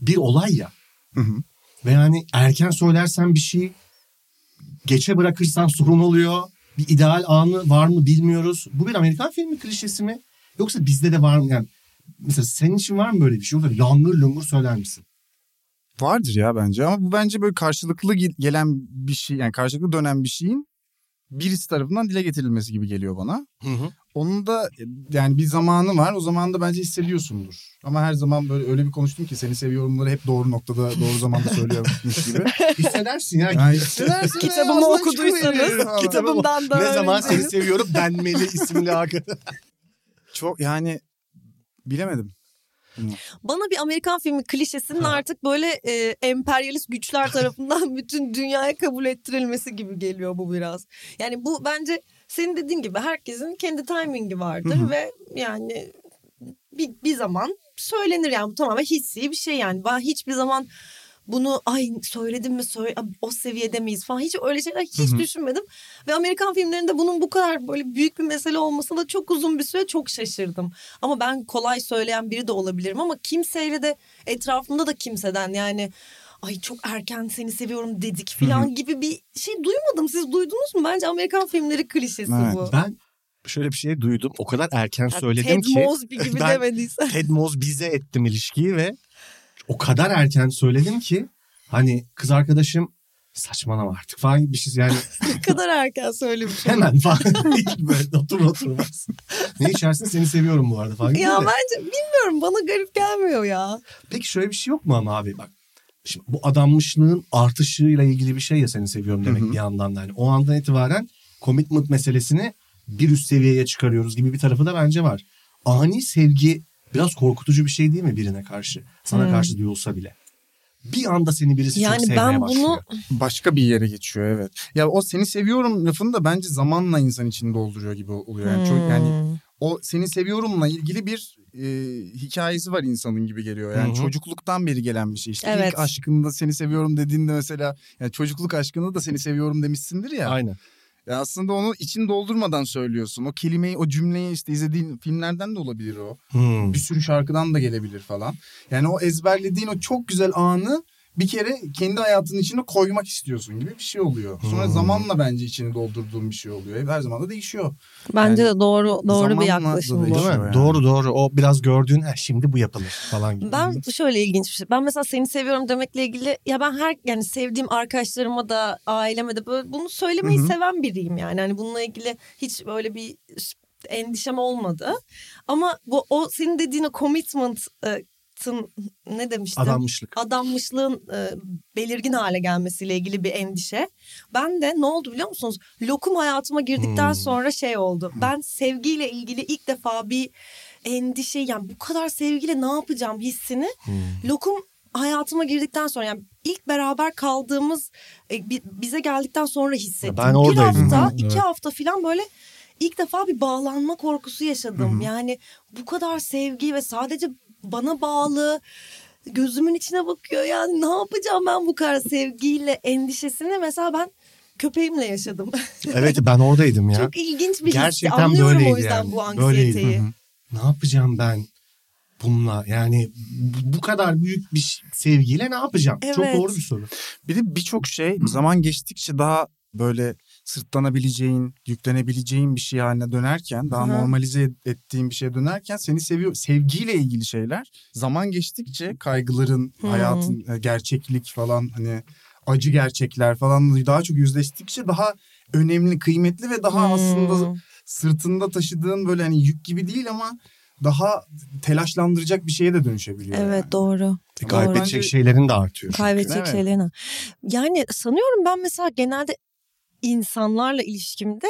S3: bir olay ya.
S4: Hı hı.
S3: Ve yani erken söylersen bir şey geçe bırakırsan sorun oluyor. Bir ideal anı var mı bilmiyoruz. Bu bir Amerikan filmi klişesi mi? Yoksa bizde de var mı? Yani mesela senin için var mı böyle bir şey? Yoksa langır lungur söyler misin?
S4: Vardır ya bence ama bu bence böyle karşılıklı gel- gelen bir şey yani karşılıklı dönen bir şeyin birisi tarafından dile getirilmesi gibi geliyor bana.
S3: Hı hı.
S4: Onun da e, yani bir zamanı var o zaman da bence hissediyorsundur. Ama her zaman böyle öyle bir konuştum ki seni seviyorumları hep doğru noktada doğru zamanda söylüyormuş gibi.
S3: Hissedersin ya.
S4: Yani hissedersin ya,
S2: Kitabımı
S4: ağzından çıkıveriyor falan.
S2: okuduysanız kitabımdan da
S3: ne zaman
S2: öğrendiniz.
S3: seni seviyorum denmeli isimli arkadaş.
S4: Çok yani bilemedim.
S2: Bana bir Amerikan filmi klişesinin
S3: Ha.
S2: artık böyle e, emperyalist güçler tarafından bütün dünyaya kabul ettirilmesi gibi geliyor bu biraz. Yani bu bence senin dediğin gibi herkesin kendi timingi vardır
S4: Hı hı.
S2: ve yani bir, bir zaman söylenir yani bu tamamen hissi bir şey yani. Ben hiçbir zaman bunu ay söyledim mi söyle o seviyede miyiz falan hiç öyle şeyler hiç
S4: Hı hı.
S2: düşünmedim. Ve Amerikan filmlerinde bunun bu kadar böyle büyük bir mesele olmasına da çok uzun bir süre çok şaşırdım. Ama ben kolay söyleyen biri de olabilirim ama kimseyle de etrafımda da kimseden yani ay çok erken seni seviyorum dedik falan gibi bir şey duymadım. Siz duydunuz mu? Bence Amerikan filmleri klişesi
S4: Evet,
S2: bu.
S3: Ben şöyle bir şey duydum. O kadar erken
S2: Ya
S3: söyledim
S2: Ted
S3: ki.
S2: Mosby gibi
S3: Ben-
S2: demediysen.
S3: Ted Moz bize ettim ilişkiyi ve o kadar erken söyledim ki hani kız arkadaşım saçmalama artık falan gibi bir şey yani
S2: ne kadar erken söylemiş.
S3: hemen falan değil böyle otur oturmaz. ne içersin seni seviyorum bu arada falan. gibi
S2: ya
S3: de.
S2: bence bilmiyorum bana garip gelmiyor ya.
S3: Peki şöyle bir şey yok mu ama abi bak. Şimdi bu adanmışlığın artışıyla ilgili bir şey ya seni seviyorum demek
S4: Hı hı.
S3: bir yandan da. Yani o andan itibaren commitment meselesini bir üst seviyeye çıkarıyoruz gibi bir tarafı da bence var. Ani sevgi biraz korkutucu bir şey değil mi birine karşı? Sana
S2: Hmm.
S3: karşı duyulsa bile. Bir anda seni birisi çok
S2: Yani
S3: sevmeye
S2: ben bunu-
S3: başlıyor.
S4: başka bir yere geçiyor evet. Ya o seni seviyorum lafını da bence zamanla insan için dolduruyor gibi oluyor. Yani çok yani
S2: Hmm.
S4: o seni seviyorumla ilgili bir e, hikayesi var insanın gibi geliyor. Yani
S3: Hı hı.
S4: çocukluktan beri gelen bir şey. İşte
S2: Evet.
S4: ilk aşkında seni seviyorum dediğinde mesela yani çocukluk aşkında da seni seviyorum demişsindir ya.
S3: Aynen.
S4: Ya aslında onu için doldurmadan söylüyorsun. O kelimeyi, o cümleyi işte izlediğin filmlerden de olabilir o
S3: Hmm.
S4: bir sürü şarkıdan da gelebilir falan. Yani o ezberlediğin o çok güzel anı bir kere kendi hayatının içine koymak istiyorsun gibi bir şey oluyor. Sonra
S3: Hmm.
S4: zamanla bence içini doldurduğun bir şey oluyor. Her zaman da değişiyor.
S2: Bence
S4: Yani
S2: de doğru doğru
S4: zamanla
S2: bir yaklaşım
S4: dolayı-
S2: bu.
S3: Değil mi?
S4: şey Yani.
S3: Doğru doğru. O biraz gördüğün "Ha, şimdi bu yapılır falan gibi.
S2: Ben şöyle ilginç bir şey. Ben mesela seni seviyorum demekle ilgili ya ben her yani sevdiğim arkadaşlarıma da aileme de böyle bunu söylemeyi
S4: Hı hı.
S2: seven biriyim yani. Hani bununla ilgili hiç böyle bir endişem olmadı. Ama bu o senin dediğin o commitment e, tın- ne demiştim?
S3: Adanmışlık.
S2: adanmışlığın e, belirgin hale gelmesiyle ilgili bir endişe. Ben de ne oldu biliyor musunuz? Lokum hayatıma girdikten
S3: Hmm.
S2: sonra şey oldu. Ben sevgiyle ilgili ilk defa bir endişe yani bu kadar sevgiyle ne yapacağım hissini
S3: Hmm.
S2: lokum hayatıma girdikten sonra yani ilk beraber kaldığımız e, bi- bize geldikten sonra hissettim.
S3: Ben
S2: bir
S3: oradaydım.
S2: hafta,
S3: Hı,
S2: iki
S3: evet.
S2: hafta falan böyle ilk defa bir bağlanma korkusu yaşadım.
S4: Hı hı.
S2: Yani bu kadar sevgi ve sadece bana bağlı gözümün içine bakıyor. Yani ne yapacağım ben bu kadar sevgiyle endişesini mesela ben köpeğimle yaşadım.
S3: Evet ben oradaydım ya.
S2: Çok ilginç bir histi.
S3: Gerçekten
S2: Anlıyorum
S3: böyleydi
S2: o yüzden
S3: yani.
S2: bu
S3: Böyleydi.
S2: anksiyeteyi.
S3: Ne yapacağım ben bununla? Yani bu bu kadar büyük bir ş- sevgiyle ne yapacağım? Çok
S2: Evet.
S3: doğru bir soru.
S4: Bir de birçok şey zaman geçtikçe daha böyle sırtlanabileceğin, yüklenebileceğin bir şey haline dönerken, daha
S2: Hı hı.
S4: normalize ettiğin bir şeye dönerken seni seviyor sevgiyle ilgili şeyler zaman geçtikçe kaygıların,
S2: Hı.
S4: hayatın e, gerçeklik falan hani acı gerçekler falan daha çok yüzleştikçe daha önemli, kıymetli ve daha aslında
S2: Hmm.
S4: sırtında taşıdığın böyle hani yük gibi değil ama daha telaşlandıracak bir şeye de dönüşebiliyor.
S2: Evet
S4: yani.
S2: doğru.
S3: E,
S4: Doğru.
S3: Kaybedecek
S4: Bence-
S3: şeylerin de artıyor.
S2: Kaybedecek
S4: Evet.
S2: şeylerini. Yani sanıyorum ben mesela genelde insanlarla ilişkimde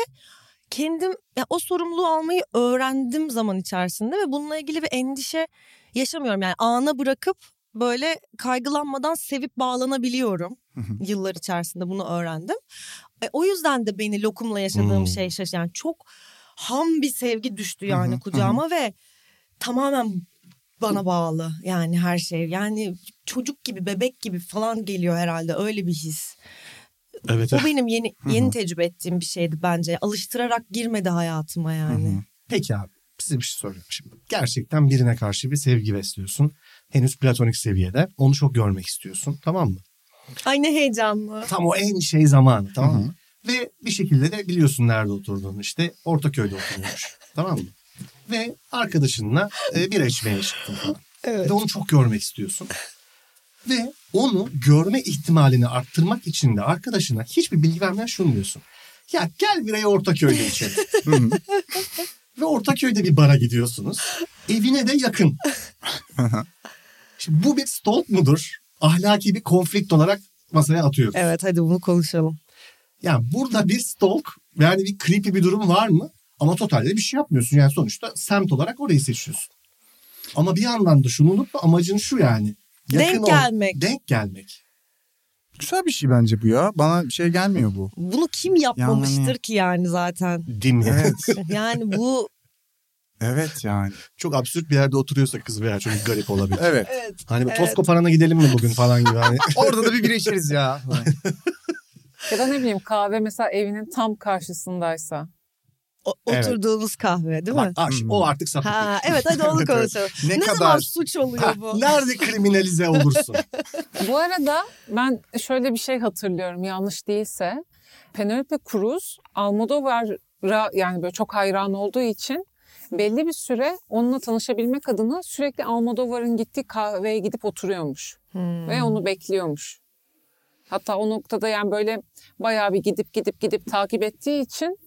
S2: kendim ya o sorumluluğu almayı öğrendim zaman içerisinde ve bununla ilgili bir endişe yaşamıyorum. Yani ana bırakıp böyle kaygılanmadan sevip bağlanabiliyorum. Yıllar içerisinde bunu öğrendim. E, o yüzden de beni lokumla yaşadığım
S3: Hmm.
S2: şey şaş yani çok ham bir sevgi düştü yani
S4: Hı hı,
S2: kucağıma ve tamamen bana bağlı yani her şey. Yani çocuk gibi bebek gibi falan geliyor herhalde öyle bir his.
S3: Evet.
S2: O benim yeni yeni tecrübe ettiğim bir şeydi bence. Alıştırarak girmedi hayatıma yani.
S3: Peki abi size bir şey soruyorum şimdi. Gerçekten birine karşı bir sevgi besliyorsun. Henüz platonik seviyede. Onu çok görmek istiyorsun tamam mı?
S2: Ay ne heyecanlı.
S3: Tam o en şey zamanı tamam mı? Ve bir şekilde de biliyorsun nerede oturduğunu işte Ortaköy'de oturuyormuş tamam mı? Ve arkadaşınla e, bira içmeye çıktın falan.
S2: Evet.
S3: Ve onu çok görmek istiyorsun. Ve onu görme ihtimalini arttırmak için de arkadaşına hiçbir bilgi vermeden şunu diyorsun. Ya gel birayı Ortaköy'de içelim. Ve Ortaköy'de bir bara gidiyorsunuz. Evine de yakın. Şimdi bu bir stalk mudur? Ahlaki bir konflikt olarak masaya atıyoruz.
S2: Evet hadi bunu konuşalım.
S3: Yani burada bir stalk yani bir creepy bir durum var mı? Ama totalde bir şey yapmıyorsun. Yani sonuçta semt olarak orayı seçiyorsun. Ama bir yandan da şunu unutma amacın şu yani.
S2: Denk
S3: ol-
S2: gelmek.
S3: Denk gelmek.
S4: Güzel bir şey bence bu ya. Bana bir şey gelmiyor bu.
S2: Bunu kim yapmamıştır
S4: Yani-
S2: ki yani zaten?
S3: Değil mi?
S4: Evet.
S2: Yani bu
S4: evet yani.
S3: Çok absürt bir yerde oturuyorsa kız veya çok garip olabilir.
S4: Evet.
S2: evet.
S3: Hani bir
S2: Evet.
S3: Toskoparan'a gidelim mi bugün falan gibi. Hani.
S4: E, Orada da bir bira içeriz ya.
S5: Ya da ne bileyim kahve mesela evinin tam karşısındaysa.
S2: O-
S3: Evet.
S2: Oturduğumuz kahve değil
S3: Bak,
S2: mi?
S3: ah, şimdi o artık sapık.
S2: Ha evet hadi onu
S4: Evet, evet.
S2: konuşalım.
S4: ne,
S2: Ne,
S4: kadar
S2: zaman suç
S3: Ha,
S2: oluyor bu?
S3: nerede kriminalize olursun?
S5: Bu arada ben şöyle bir şey hatırlıyorum yanlış değilse. Penelope Cruz Almodovar'a yani böyle çok hayran olduğu için belli bir süre onunla tanışabilmek adına sürekli Almodovar'ın gittiği kahveye gidip oturuyormuş.
S2: Hmm.
S5: Ve onu bekliyormuş. Hatta o noktada yani böyle bayağı bir gidip gidip gidip takip ettiği için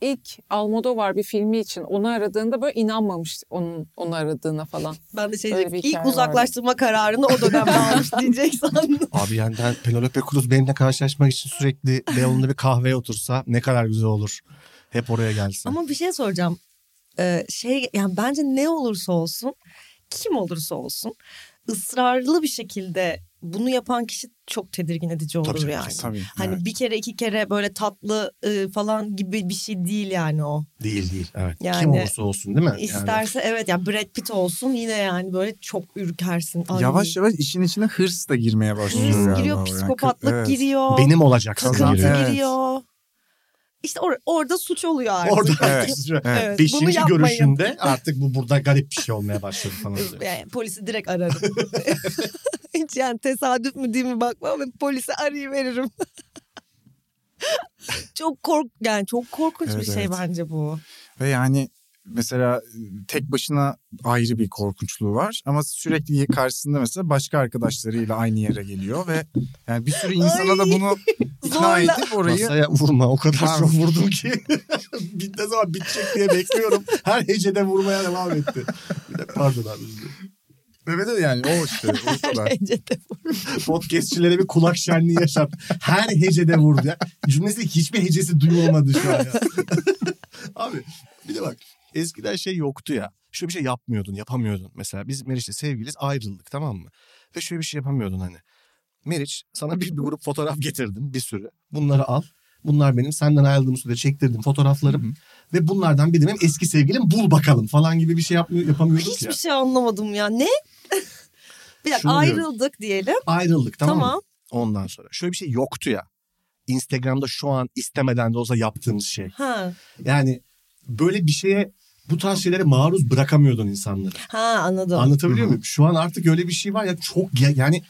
S5: ilk Almodovar bir filmi için onu aradığında böyle inanmamış onun onu aradığına falan.
S2: Ben de şey
S5: Öyle
S2: diyecektim.
S5: bir hikaye
S2: İlk uzaklaştırma kararını o dönemde almış diyecek sandım.
S3: Abi yani ben Penelope Cruz benimle karşılaşmak için sürekli Beyoğlu'nda bir kahveye otursa ne kadar güzel olur. Hep oraya gelsin.
S2: Ama bir şey soracağım. Ee, şey yani bence ne olursa olsun kim olursa olsun ısrarlı bir şekilde bunu yapan kişi çok tedirgin edici olur
S3: Tabii,
S2: yani.
S4: Tabii.
S2: Hani
S4: evet.
S2: bir kere iki kere böyle tatlı e, falan gibi bir şey değil yani o.
S3: Değil değil. Evet.
S2: Yani-
S3: Kim olursa olsun değil mi? Yani-
S2: İsterse evet yani Brad Pitt olsun yine yani böyle çok ürkersin. Ay.
S4: Yavaş yavaş işin içine hırs da girmeye başlıyor.
S2: Hırs
S4: galiba
S2: giriyor,
S4: bu yani.
S2: psikopatlık
S4: Evet.
S2: giriyor.
S3: Benim olacak.
S4: Kazan-
S2: Kazantı
S3: sanırım.
S4: Evet.
S2: giriyor. İşte or- orada suç oluyor artık.
S3: Orada
S4: Evet.
S3: artık
S4: Evet.
S2: Evet, bunu
S3: beşinci
S2: yapmayın.
S3: görüşünde artık bu burada garip bir şey olmaya başladı falan. diyor.
S2: Yani polisi direkt ararım. Hiç yani tesadüf mü değil mi bakmam ve polisi arayıveririm. çok kork yani çok korkunç
S4: Evet,
S2: bir şey
S4: evet.
S2: bence bu.
S4: Ve yani mesela e, tek başına ayrı bir korkunçluğu var ama sürekli karşısında mesela başka arkadaşlarıyla aynı yere geliyor ve yani bir sürü insana da
S2: Ay,
S4: bunu ikna
S2: zorla.
S4: edip orayı
S3: Masaya vurma o kadar
S4: Tamam.
S3: çok vurdum ki. Bir- ne zaman bitecek diye bekliyorum. Her hecede vurmaya devam etti. Bir de pardon abi. özür dilerim.
S4: evet evet yani o işte o kadar.
S2: Bence de.
S3: Podcastçilere bir kulak şenliği yaşat. Her hecede vurdu ya. Cümlesi hiçbir hecesi duyulmadı şu an ya. abi bir de bak eskiden şey yoktu ya. Şöyle bir şey yapmıyordun yapamıyordun. Mesela biz Meriç'le sevgiliz ayrıldık tamam mı? Ve şöyle bir şey yapamıyordun hani. Meriç sana bir, bir grup fotoğraf getirdim bir sürü. Bunları al. Bunlar benim senden ayrıldığım sürede çektirdim fotoğraflarım. Ve bunlardan bir de benim eski sevgilim bul bakalım falan gibi bir şey yapmıyor, yapamıyorduk
S2: Hiçbir
S3: ya.
S2: şey anlamadım ya. Ne? bir dakika
S3: Şunu diyorum.
S2: ayrıldık diyelim.
S3: Ayrıldık tamam,
S2: Tamam.
S3: mı? Ondan sonra. Şöyle bir şey yoktu ya. Instagram'da şu an istemeden de olsa yaptığımız şey.
S2: Ha,
S3: Yani böyle bir şeye bu tarz şeylere maruz bırakamıyordun insanları.
S2: ha anladım.
S3: Anlatabiliyor muyum? Şu an artık öyle bir şey var ya çok ya- yani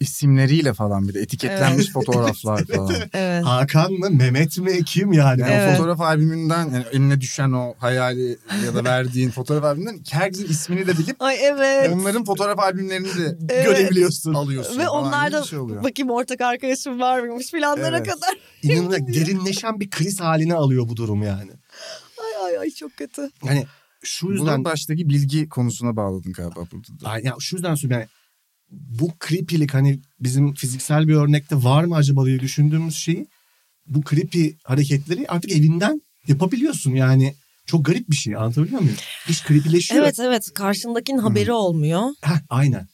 S4: İsimleriyle falan bir de etiketlenmiş fotoğraflar falan.
S2: evet.
S3: Hakan mı Mehmet mi kim yani?
S4: Yani
S2: Evet.
S4: o fotoğraf albümünden yani önüne düşen o hayali ya da verdiğin fotoğraf albümünden herkesin ismini de bilip
S2: Ay evet.
S4: onların fotoğraf albümlerini de
S2: Evet.
S4: görebiliyorsun. Alıyorsun
S2: Ve
S4: falan gibi
S2: onlardan
S4: bir şey oluyor.
S2: bakayım ortak arkadaşım var mıymış filanlara
S4: Evet.
S2: kadar.
S3: İnanın ya, derinleşen bir kriz haline alıyor bu durum yani.
S2: Ay ay ay çok kötü.
S3: Yani şu yüzden
S4: Bunu baştaki bilgi konusuna bağladın galiba burada da.
S3: Ay, ya şu yüzden söylüyorum yani bu creepy'lik hani bizim fiziksel bir örnekte var mı acaba diye düşündüğümüz şeyi bu creepy hareketleri artık evinden yapabiliyorsun yani. Çok garip bir şey anlatabiliyor muyum? İş creepyleşiyor.
S2: Evet evet karşındakinin haberi olmuyor.
S3: Heh, aynen.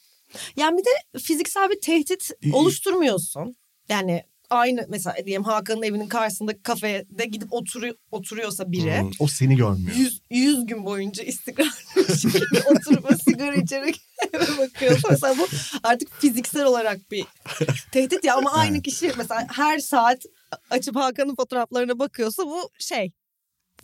S2: Yani bir de fiziksel bir tehdit
S3: İyi.
S2: oluşturmuyorsun. Yani aynı mesela diyelim Hakan'ın evinin karşısındaki kafede gidip oturu, oturuyorsa biri.
S3: Hmm, O seni görmüyor.
S2: 100, 100 gün boyunca istikrarlı bir şekilde oturup o sigara içerek eve bakıyorsa mesela bu artık fiziksel olarak bir tehdit ya ama aynı kişi mesela her saat açıp Hakan'ın fotoğraflarına bakıyorsa bu şey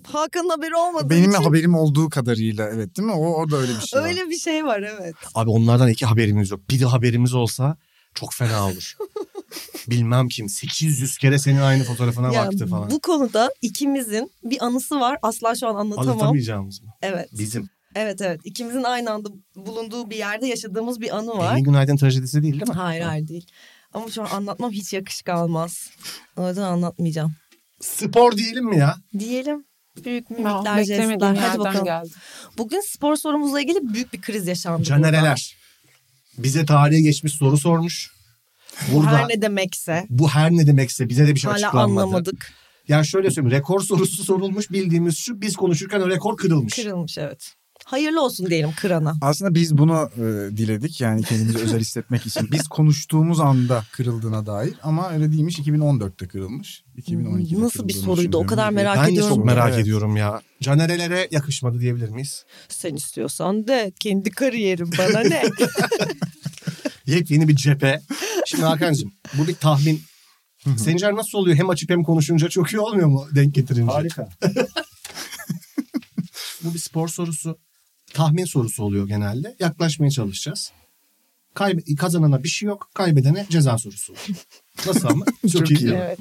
S2: Hakan'ın haberi olmadığı
S4: Benim
S2: için
S4: haberim olduğu kadarıyla evet değil mi? O orada öyle bir şey var.
S2: öyle bir şey var evet.
S3: Abi onlardan iki haberimiz yok. Bir de haberimiz olsa çok fena olur. Bilmem kim 800 kere senin aynı fotoğrafına
S2: Ya
S3: baktı falan.
S2: bu konuda ikimizin bir anısı var. Asla şu an anlatamam.
S3: Anlatamayacağımız mı?
S2: Evet.
S3: Bizim.
S2: Evet evet. İkimizin aynı anda bulunduğu bir yerde yaşadığımız bir anı var.
S3: Engin Günaydın trajedisi değil değil mi?
S2: Hayır hayır değil. Ama şu an anlatmam hiç yakışık almaz. O yüzden anlatmayacağım.
S3: Spor diyelim mi ya?
S2: Diyelim büyük
S5: Ah,
S2: mimikler,
S5: Beklemediğim
S2: jestler. Hadi
S5: yerden
S2: bakalım.
S5: geldi.
S2: Bugün spor sorumuzla ilgili büyük bir kriz yaşandı. burada.
S3: Canereler. Bize tarihe geçmiş soru sormuş.
S2: Bu
S3: Burada
S2: Her ne demekse.
S3: bu her ne demekse bize de bir şey
S2: Hala
S3: açıklanmadı.
S2: anlamadık.
S3: Yani şöyle söyleyeyim rekor sorusu sorulmuş bildiğimiz şu biz konuşurken o rekor kırılmış.
S2: Kırılmış evet. Hayırlı olsun diyelim kırana.
S4: Aslında biz bunu e, diledik yani kendimizi özel hissetmek için. Biz konuştuğumuz anda kırıldığına dair ama öyle değilmiş 2014'te kırılmış. 2012'de
S2: Nasıl bir
S4: kırıldığını
S2: soruydu o
S4: düşünüyorum.
S2: kadar merak
S3: ben de
S2: ediyorum.
S3: çok merak
S4: Evet.
S3: ediyorum ya. Canerelere yakışmadı diyebilir miyiz?
S2: Sen istiyorsan de kendi kariyerim bana ne?
S3: Yepyeni bir cephe. Şimdi Hakan'cığım bu bir tahmin. Sencer nasıl oluyor? Hem açıp hem konuşunca çok iyi olmuyor mu denk getirince?
S1: Harika.
S3: Bu bir spor sorusu. Tahmin sorusu oluyor genelde. Yaklaşmaya çalışacağız. Kaybe- kazanana bir şey yok. Kaybedene ceza sorusu. Nasıl ama? çok,
S4: Çok
S3: iyi.
S4: iyi.
S3: değil mi?
S2: evet.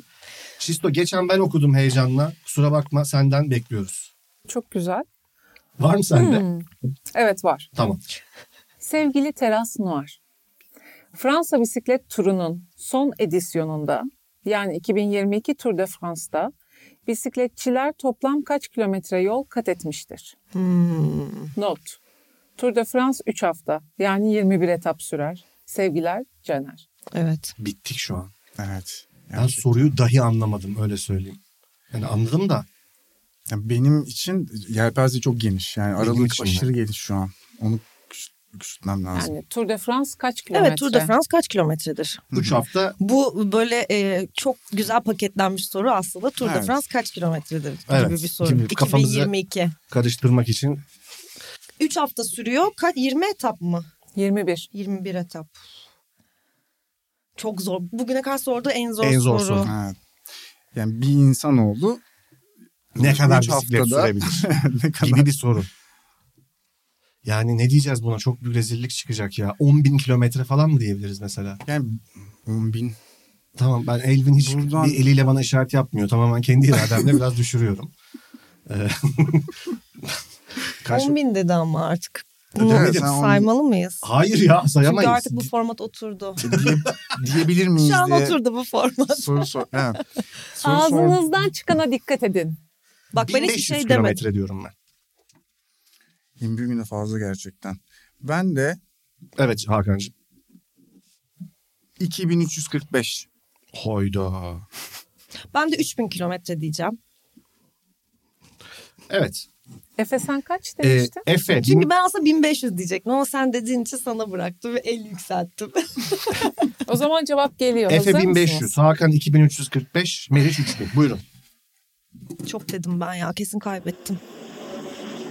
S3: Şisto geçen ben okudum heyecanla. Kusura bakma senden bekliyoruz.
S5: Çok güzel.
S3: Var mı sende?
S5: Hmm. Evet var.
S3: Tamam.
S5: Sevgili Teras Noir, Fransa bisiklet turunun son edisyonunda yani 2022 Tour de France'da bisikletçiler toplam kaç kilometre yol kat etmiştir?
S2: Hmm,
S5: Not. Tour de France 3 hafta yani 21 etap sürer. Sevgiler Caner.
S2: Evet.
S3: Bittik şu an.
S4: Evet.
S3: Ben soruyu dahi anlamadım öyle söyleyeyim. Yani anladım da
S4: Yani benim için yelpaze çok geniş. Yani aralık
S3: için de.
S4: aşırı geniş şu an. Onu küçült- küçültmem lazım.
S5: Yani Tour de France kaç kilometre?
S2: Evet Tour de France kaç kilometredir?
S3: 3 hafta
S2: Bu böyle e, çok güzel paketlenmiş soru aslında. Tour de
S4: Evet.
S2: France kaç kilometredir
S3: Evet,
S2: gibi bir soru.
S3: gibi kafamızı-
S2: 2022.
S3: karıştırmak için
S2: 3 hafta sürüyor. Kaç 20 etap mı?
S5: 21.
S2: 21 etap. Çok zor. Bugüne kadar sorduğu en zor,
S3: En zor
S2: soru.
S3: soru.
S4: Evet. Yani bir insanoğlu
S3: ne
S4: Üç
S3: kadar bisiklet
S4: haftada-
S3: sürebilir
S4: ne kadar
S3: gibi bir soru. Yani ne diyeceğiz buna? Çok büyük rezillik çıkacak ya. 10 bin kilometre falan mı diyebiliriz mesela?
S4: yani 10 bin
S3: Tamam ben Elvin hiç
S4: Buradan-
S3: bir eliyle bana işaret yapmıyor. Tamamen kendi irademle biraz düşürüyorum. Ee, Kaç... E,
S2: 10 bin dedi ama artık. Bunu
S4: Evet, sen on-
S2: saymalı mıyız?
S3: Hayır ya sayamayız.
S2: Çünkü artık bu format oturdu.
S4: e, diye- diyebilir miyiz
S2: Şu an
S4: diye
S2: oturdu bu format.
S4: soru sor. Evet. Soru sor-
S5: Ağzınızdan çıkana dikkat edin.
S2: Bak ben hiçbir
S3: 1500
S2: şey demedim.
S3: kilometre diyorum ben.
S4: 21 güne fazla gerçekten. Ben de
S3: Evet Hakan'cığım.
S4: 2345.
S3: Hoyda.
S2: Ben de 3000 kilometre diyeceğim.
S3: Evet.
S5: Efe sen kaç
S3: Ee,
S5: demiştin?
S3: Efe.
S2: Çünkü ben aslında 1500 diyecektim ama sen dediğin için sana bıraktım ve el yükselttim.
S5: o zaman cevap geliyor.
S3: Efe
S5: Hazır
S3: 1500.
S5: mısınız?
S3: Hakan 2345. Meriç 3000. Buyurun.
S2: Çok dedim ben ya kesin kaybettim.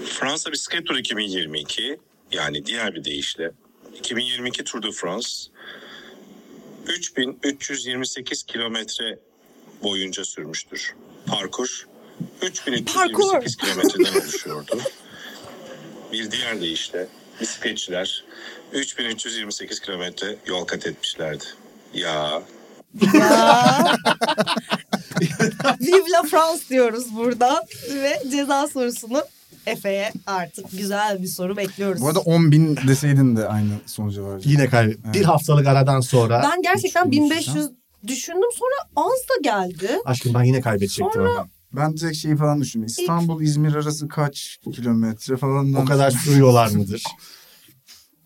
S6: Fransa Bisiklet Turu 2022 yani diğer bir deyişle 2022 Tour de France 3328 kilometre boyunca sürmüştür. Parkur 3228
S2: Parkur.
S6: kilometreden oluşuyordu. Bir diğer deyişle bisikletçiler 3328 kilometre yol kat etmişlerdi. Ya
S2: Ya. Vive la France diyoruz burada ve ceza sorusunu Efe'ye artık güzel bir soru bekliyoruz.
S4: Bu arada 10 bin deseydin de aynı sonuca varacaktın.
S3: Yine kaybet. Bir haftalık aradan sonra
S2: ben gerçekten
S4: üç bin
S2: 1500 düşündüm sonra az da geldi.
S3: aşkım ben yine kaybedecektim ama.
S4: Ben direkt şeyi falan düşündüm. İstanbul-İzmir arası kaç kilometre falan.
S3: O kadar sürüyorlar mıdır?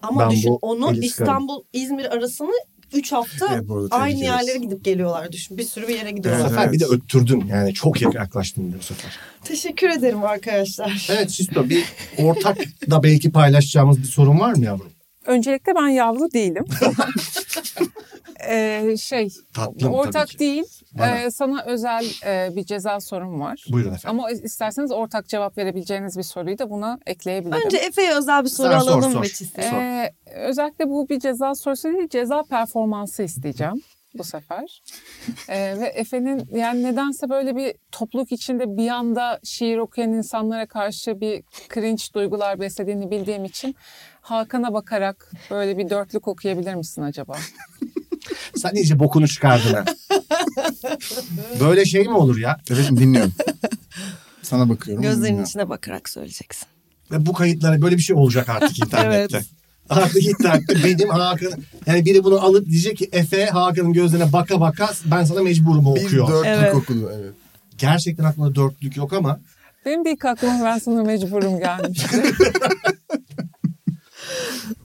S2: Ama
S3: Ben bu
S2: düşün
S3: eli
S2: onu
S3: sıkarım.
S2: İstanbul İzmir arasını 3 hafta
S4: Evet, bu arada tebrik
S2: aynı
S4: ederiz.
S2: yerlere gidip geliyorlar düşün. Bir sürü bir yere
S3: Bu
S4: Evet,
S2: gidiyorlar.
S3: sefer
S4: evet.
S3: bir de öttürdün yani çok yaklaştın bu sefer.
S2: Teşekkür ederim arkadaşlar.
S3: Evet Sisto bir ortak da belki paylaşacağımız bir sorun var mı yavrum?
S5: Öncelikle ben yavru değilim. Ee, şey,
S3: Tatlım tabii ki.
S5: ortak değil.
S3: Bana.
S5: Ee, sana özel e, bir ceza sorum var.
S3: Buyurun efendim.
S5: Ama isterseniz ortak cevap verebileceğiniz bir soruyu da buna ekleyebilirim.
S2: Önce Efe'ye özel bir soru
S3: Sen sor,
S2: alalım
S3: sor.
S2: ve çizsin.
S3: Sor.
S5: Ee, özellikle bu bir ceza sorusu değil, ceza performansı isteyeceğim bu sefer. Ee, ve Efe'nin yani nedense böyle bir topluluk içinde bir anda şiir okuyan insanlara karşı bir cringe duygular beslediğini bildiğim için Hakan'a bakarak böyle bir dörtlük okuyabilir misin acaba?
S3: Sen iyice bokunu çıkardın ha. Böyle şey mi olur ya?
S4: Evet dinliyorum. Sana bakıyorum.
S2: Gözlerinin
S4: dinliyorum.
S2: içine bakarak söyleyeceksin.
S3: Ve bu kayıtlara böyle bir şey olacak artık internette.
S2: Evet.
S3: Artık internette benim Hakan yani biri bunu alıp diyecek ki Efe Hakan'ın gözlerine baka baka ben sana mecburum o
S4: Bir
S3: okuyor.
S4: dörtlük
S2: Evet.
S4: okulu evet.
S3: Gerçekten aklımda dörtlük yok ama
S5: Benim de ilk aklıma ben sana mecburum gelmişti.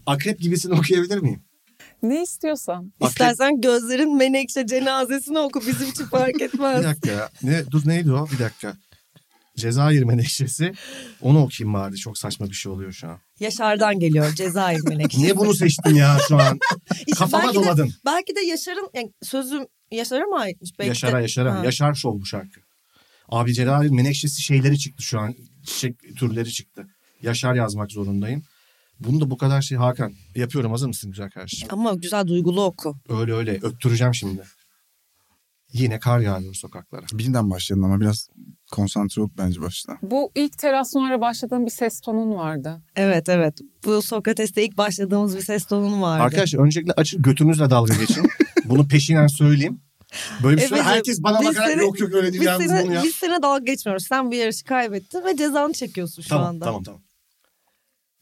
S3: akrep gibisini okuyabilir miyim?
S5: ne istiyorsan.
S3: Akrep-
S2: İstersen gözlerin menekşe cenazesini oku bizim için fark
S3: Bir
S2: etmez.
S3: dakika ya. Ne, dur neydi o? Bir dakika. Cezayir menekşesi. Onu okuyayım bari. Çok saçma bir şey oluyor şu an.
S2: Yaşar'dan geliyor Cezayir menekşe.
S3: Niye bunu seçtin ya şu an?
S2: İşte
S3: Kafama
S2: belki De,
S3: doladın.
S2: belki de Yaşar'ın yani sözüm Yaşar'a mı aitmiş? Belki
S3: Yaşar'a
S2: de-
S3: Yaşar'a.
S2: Ha.
S3: Yaşar Show bu şarkı. Abi Cezayir menekşesi şeyleri çıktı şu an. Çiçek türleri çıktı. Yaşar yazmak zorundayım. Bunu da bu kadar şey Hakan. Yapıyorum hazır mısın güzel kardeşim?
S2: Ama güzel duygulu oku.
S3: Öyle öyle öttüreceğim şimdi. Yine kar yağıyor sokaklara.
S4: Birinden başlayalım ama biraz konsantre olup bence başla.
S5: Bu ilk terasonlara başladığım bir ses tonun vardı.
S2: Evet evet. Bu Sokrates'te ilk başladığımız bir ses tonun vardı.
S3: Arkadaşlar öncelikle açın götünüzle dalga geçin. Bunu peşinen söyleyeyim. Böyle bir şey
S2: Evet,
S3: herkes bana
S2: biz
S3: bakarak
S2: seni-
S3: yok yok öyle değil
S2: Biz
S3: yalnız bunu
S2: sene,
S3: ya.
S2: biz sene dalga geçmiyoruz. Sen bir yarışı kaybettin ve cezanı çekiyorsun şu
S3: tamam
S2: anda.
S3: tamam tamam.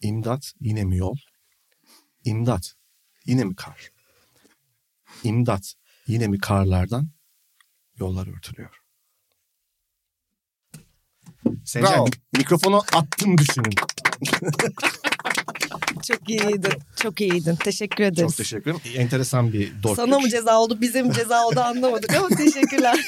S3: İmdat yine mi yol? İmdat yine mi kar? İmdat yine mi karlardan yollar örtülüyor? Seyirciler
S4: Bravo.
S3: mikrofonu attım düşünün.
S2: Çok iyiydin. Çok iyiydin. Teşekkür ederiz.
S3: Çok teşekkür ederim. Enteresan bir dörtlük.
S2: Sana mı ceza oldu, bize mi ceza oldu anlamadık ama teşekkürler.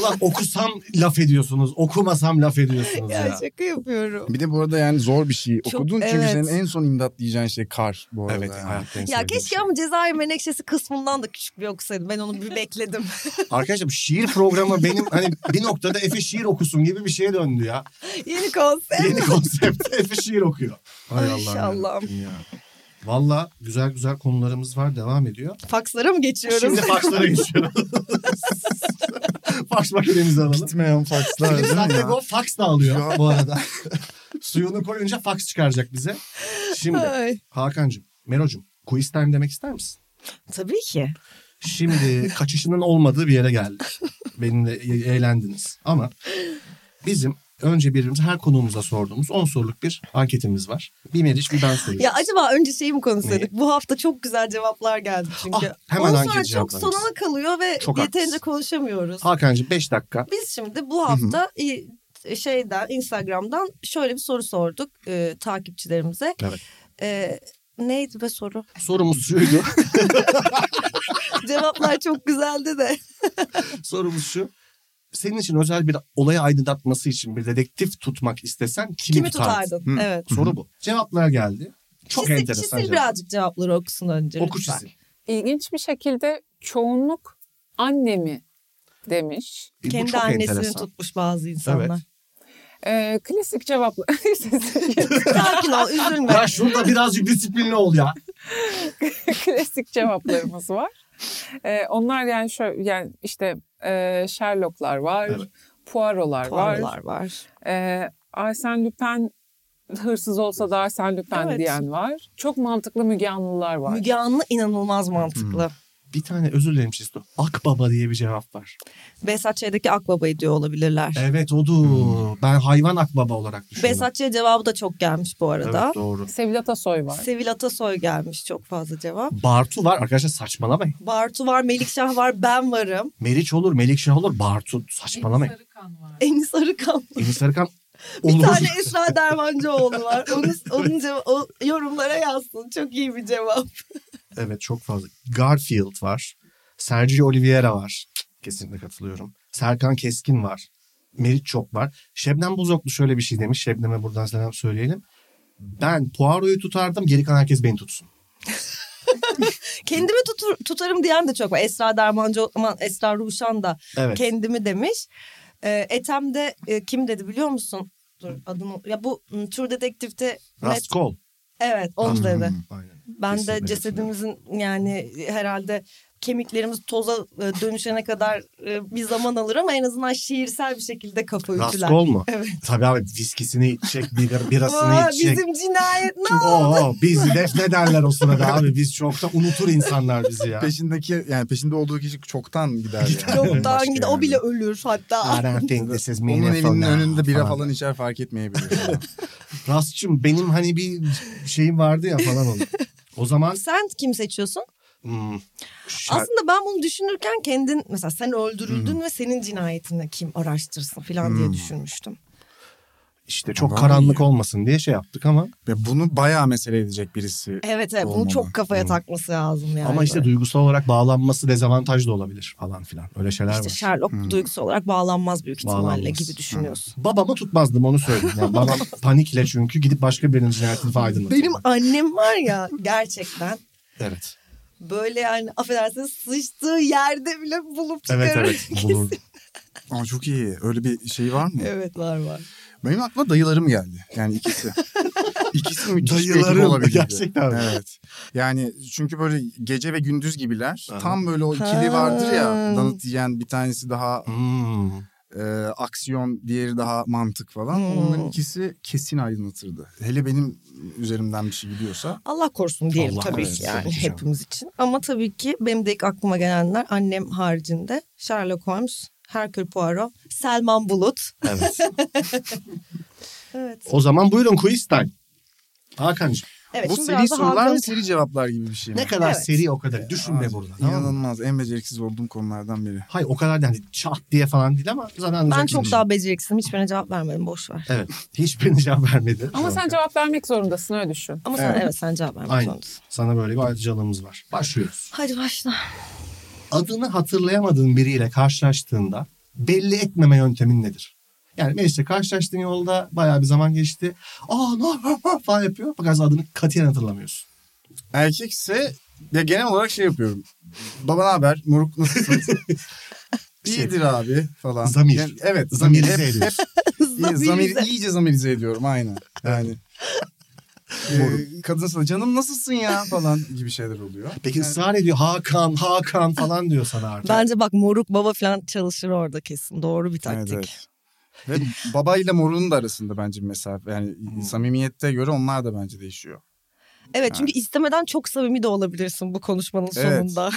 S3: Ulan okusam laf ediyorsunuz, okumasam laf ediyorsunuz ya.
S2: ya şaka yapıyorum.
S4: Bir de bu arada yani zor bir şey
S2: Çok-
S4: okudun çünkü
S2: evet.
S4: senin en son imdat diyeceğin şey kar bu arada.
S3: Evet,
S4: yani.
S3: hayatta en
S2: Ya
S3: sevdiğim
S2: keşke
S3: şey.
S2: ama Cezayir Menekşesi kısmından da küçük bir okusaydım. Ben onu bir bekledim.
S3: Arkadaşlar bu şiir programı benim hani bir noktada Efe şiir okusun gibi bir şeye döndü ya.
S2: Yeni konsept.
S3: Yeni konsept Efe şiir okuyor.
S2: Ay inşallah.
S3: yarabbim ya. Valla güzel güzel konularımız var devam ediyor.
S2: Fakslara mı geçiyorum?
S3: Şimdi fakslara geçiyoruz. Faks makinemizi alalım.
S4: Bitmeyen fakslar değil mi
S3: Zaten
S4: ya?
S3: o faks da alıyor bu arada. Suyunu koyunca faks çıkaracak bize. Şimdi
S2: Ay.
S3: Hakan'cığım, Mero'cum quiz time demek ister misin?
S2: Tabii ki.
S3: Şimdi kaçışının olmadığı bir yere geldik. Benimle e- eğlendiniz. Ama bizim önce birbirimize her konuğumuza sorduğumuz 10 soruluk bir anketimiz var. Bir Meriç bir ben soracağız.
S2: Ya acaba önce şeyi mi konuşsaydık?
S3: Neyi?
S2: Bu hafta çok güzel cevaplar geldi çünkü.
S3: Ah, hemen
S2: Ondan
S3: hangi
S2: sonra çok
S3: cevaplarımız?
S2: sonuna kalıyor ve
S3: Çok
S2: yeterince
S3: haklısın.
S2: konuşamıyoruz.
S3: Hakan'cığım 5 dakika.
S2: Biz şimdi bu hafta i- şeyden Instagram'dan şöyle bir soru sorduk e, takipçilerimize.
S3: Evet.
S2: E, neydi be soru?
S3: Sorumuz şuydu.
S2: Cevaplar çok güzeldi de.
S3: sorumuz şu. Senin için özel bir olayı aydınlatması için bir dedektif tutmak istesen kimi,
S2: Kimi
S3: tutardın?
S2: tutardın?
S4: Hı.
S2: Evet.
S3: Soru bu. Cevaplar geldi. Çok
S2: çisil,
S3: enteresan.
S2: çisil
S3: cevap.
S2: birazcık cevapları okusun önce
S3: Oku
S2: lütfen.
S3: çisil.
S5: İlginç bir şekilde çoğunluk annemi demiş.
S3: E, bu
S2: Kendi
S3: çok
S2: annesini
S3: enteresan.
S2: tutmuş bazı insanlar.
S5: Ee, klasik cevaplar.
S2: Sakin ol üzülme.
S3: Ya şurada birazcık disiplinli ol ya.
S5: klasik cevaplarımız var. Ee, onlar yani şöyle yani işte e, Sherlock'lar var,
S3: Evet.
S5: Poirot'lar var.
S2: Puanlar var.
S5: E, Arsene Lupin hırsız olsa da Arsene Lupin
S2: Evet.
S5: diyen var. Çok mantıklı Müge Anlılar var.
S2: Müge Anlı
S3: Hmm.
S2: inanılmaz mantıklı.
S3: Bir tane özür dilerim Şisto. Akbaba diye bir cevap var.
S2: Behzatçı'daki akbabayı diyor olabilirler.
S3: Evet odu. Ben hayvan akbaba olarak düşündüm.
S2: Behzatçı'ya cevabı da çok gelmiş bu
S3: Evet
S2: arada.
S3: doğru.
S5: Sevil Atasoy var.
S2: Sevil Atasoy gelmiş çok fazla cevap.
S3: Bartu var arkadaşlar saçmalamayın.
S2: Bartu var, Melikşah var, ben varım.
S3: Meriç olur, Melikşah olur, Bartu saçmalamayın.
S2: Enis Arıkan.
S3: Enis Arıkan
S2: Bir
S3: olur.
S2: tane Esra Dermancıoğlu var. Onun, onun ceva- o yorumlara yazsın. Çok iyi bir cevap.
S3: Evet çok fazla. Garfield var. Sergio Oliveira var. Cık, Kesinlikle katılıyorum. Serkan Keskin var. Meriç çok var. Şebnem Buzoklu şöyle bir şey demiş. Şebnem'e buradan selam söyleyelim. Ben Poirot'u tutardım. Geri kalan herkes beni tutsun.
S2: Kendimi tutur- tutarım diyen de çok var. Esra Dermancıoğlu, aman Esra Ruşan da
S3: Evet.
S2: kendimi demiş. Ee, Etem de e, kim dedi biliyor musun? Dur adını. Ya bu m, True Detective'de net-
S3: Raskol.
S2: Evet onu dedi.
S3: Aynen.
S2: Ben de
S3: Kesinlikle.
S2: cesedimizin yani herhalde kemiklerimiz toza e, dönüşene kadar e, bir zaman alır ama en azından şiirsel bir şekilde kafa ütüler.
S3: Raskol mu?
S2: Evet.
S3: Tabii abi viskisini içecek, bir- birasını
S2: Aa,
S3: içecek.
S2: bizim cinayet ne
S3: Oo, bizi defnederler o sırada abi. Biz çoktan unutur insanlar bizi ya.
S4: Peşindeki yani peşinde olduğu kişi çoktan gider. Yani.
S2: Çoktan
S4: Başka
S2: gide
S4: yani.
S2: o bile ölür hatta.
S3: I don't think this is
S4: Onun
S3: meaningful
S4: evinin
S3: now
S4: önünde bira falan içer fark etmeyebilir.
S3: Rastçım benim hani bir şeyim vardı ya falan oldu. O zaman
S2: Sen kim seçiyorsun?
S3: hmm, şar-
S2: Aslında ben bunu düşünürken kendin mesela sen öldürüldün ve senin cinayetini kim araştırsın falan
S3: Hmm.
S2: diye düşünmüştüm.
S3: işte çok
S4: Aman
S3: karanlık olmasın diye şey yaptık ama
S4: Ve bunu bayağı mesele edecek birisi.
S2: Evet evet bunu
S4: Olmamalı.
S2: çok kafaya
S4: Hı.
S2: takması lazım yani.
S3: ama işte
S2: Böyle.
S3: duygusal olarak bağlanması dezavantajlı olabilir falan filan. Öyle şeyler
S2: İşte
S3: var.
S2: Sherlock duygusu olarak bağlanmaz büyük ihtimalle
S3: Bağlanmaz.
S2: gibi düşünüyorsun.
S3: Babamı tutmazdım onu söyleyeyim. Yani babam panikle çünkü gidip başka birinin cinayetini aydınlatıyor.
S2: Benim annem var ya gerçekten
S3: Evet.
S2: böyle yani affedersiniz sıçtığı yerde bile bulup
S3: Evet
S2: çıkarır.
S3: evet. Bulurdu.
S4: Ama çok iyi. Öyle bir şey var mı?
S2: evet var var.
S4: Benim aklıma dayılarım geldi. Yani ikisi. ikisi müthiş bir ekip
S3: Dayılarım,
S4: olabilirdi.
S3: gerçekten.
S4: Evet. Yani çünkü böyle gece ve gündüz gibiler.
S3: Aha.
S4: Tam böyle o ikili
S2: Ha.
S4: vardır ya. Donut yiyen bir tanesi daha
S3: Hmm.
S4: e, aksiyon, diğeri daha mantık falan.
S2: Hmm.
S4: Onların ikisi kesin aydınlatırdı. Hele benim üzerimden bir şey gidiyorsa.
S2: Allah korusun diyelim
S3: Allah
S2: tabii
S3: korusun,
S2: ki yani
S3: tabii ki canım.
S2: hepimiz için. Ama tabii ki benim de ilk aklıma gelenler annem haricinde Sherlock Holmes, Hercule Poirot, Selman Bulut.
S3: Evet.
S2: Evet.
S3: O zaman buyurun quiz time. Hakan'cığım
S2: Evet,
S4: Bu
S2: şimdi
S4: seri
S2: biraz da
S4: sorular
S2: Hakan-
S4: mı seri cevaplar gibi bir şey mi?
S3: ne kadar
S2: Evet.
S3: seri o kadar. Düşünme
S4: Aa,
S3: burada. Tamam mı?
S4: İnanılmaz. En beceriksiz olduğum konulardan biri.
S3: Hayır o kadar yani çat diye falan değil ama zaten
S2: Ben
S3: anlayacak
S2: çok
S3: gibi.
S2: daha beceriksizim. Hiçbirine cevap vermedim. Boş ver.
S3: Evet. Hiçbirine cevap vermedi.
S5: Ama sen cevap vermek zorundasın öyle düşün.
S2: Ama sen evet, sen cevap vermek
S3: Aynen.
S2: zorundasın.
S3: Sana böyle bir ayrıcalığımız var. Başlıyoruz.
S2: Hadi başla.
S3: Adını hatırlayamadığın biriyle karşılaştığında belli etmeme yöntemin nedir? Yani mecliste karşılaştığın yolda bayağı bir zaman geçti. Aa ne yapıyor falan yapıyor. Fakat adını katiyen hatırlamıyorsun.
S4: Erkekse ya genel olarak şey yapıyorum. Baba ne haber? Moruk nasılsın? İyidir abi falan.
S3: Şey Zamir.
S4: Yani evet.
S3: Zamirize
S4: hep- hep
S3: ediyorsun.
S4: iyi- zamir,
S2: Zamirize.
S4: iyice zamirize ediyorum aynen. Yani. ee, kadınsa da, canım nasılsın ya falan gibi şeyler oluyor.
S3: Peki
S4: Yani
S3: ısrar ediyor Hakan Hakan falan diyor sana artık.
S2: Bence bak moruk baba falan çalışır orada kesin. Doğru bir
S4: Evet,
S2: taktik.
S4: evet. Ve babayla morunun da arasında bence bir mesafe. Yani
S3: Hmm.
S4: samimiyette göre onlar da bence değişiyor.
S2: Evet, çünkü istemeden çok samimi de olabilirsin bu konuşmanın
S4: Evet.
S2: sonunda.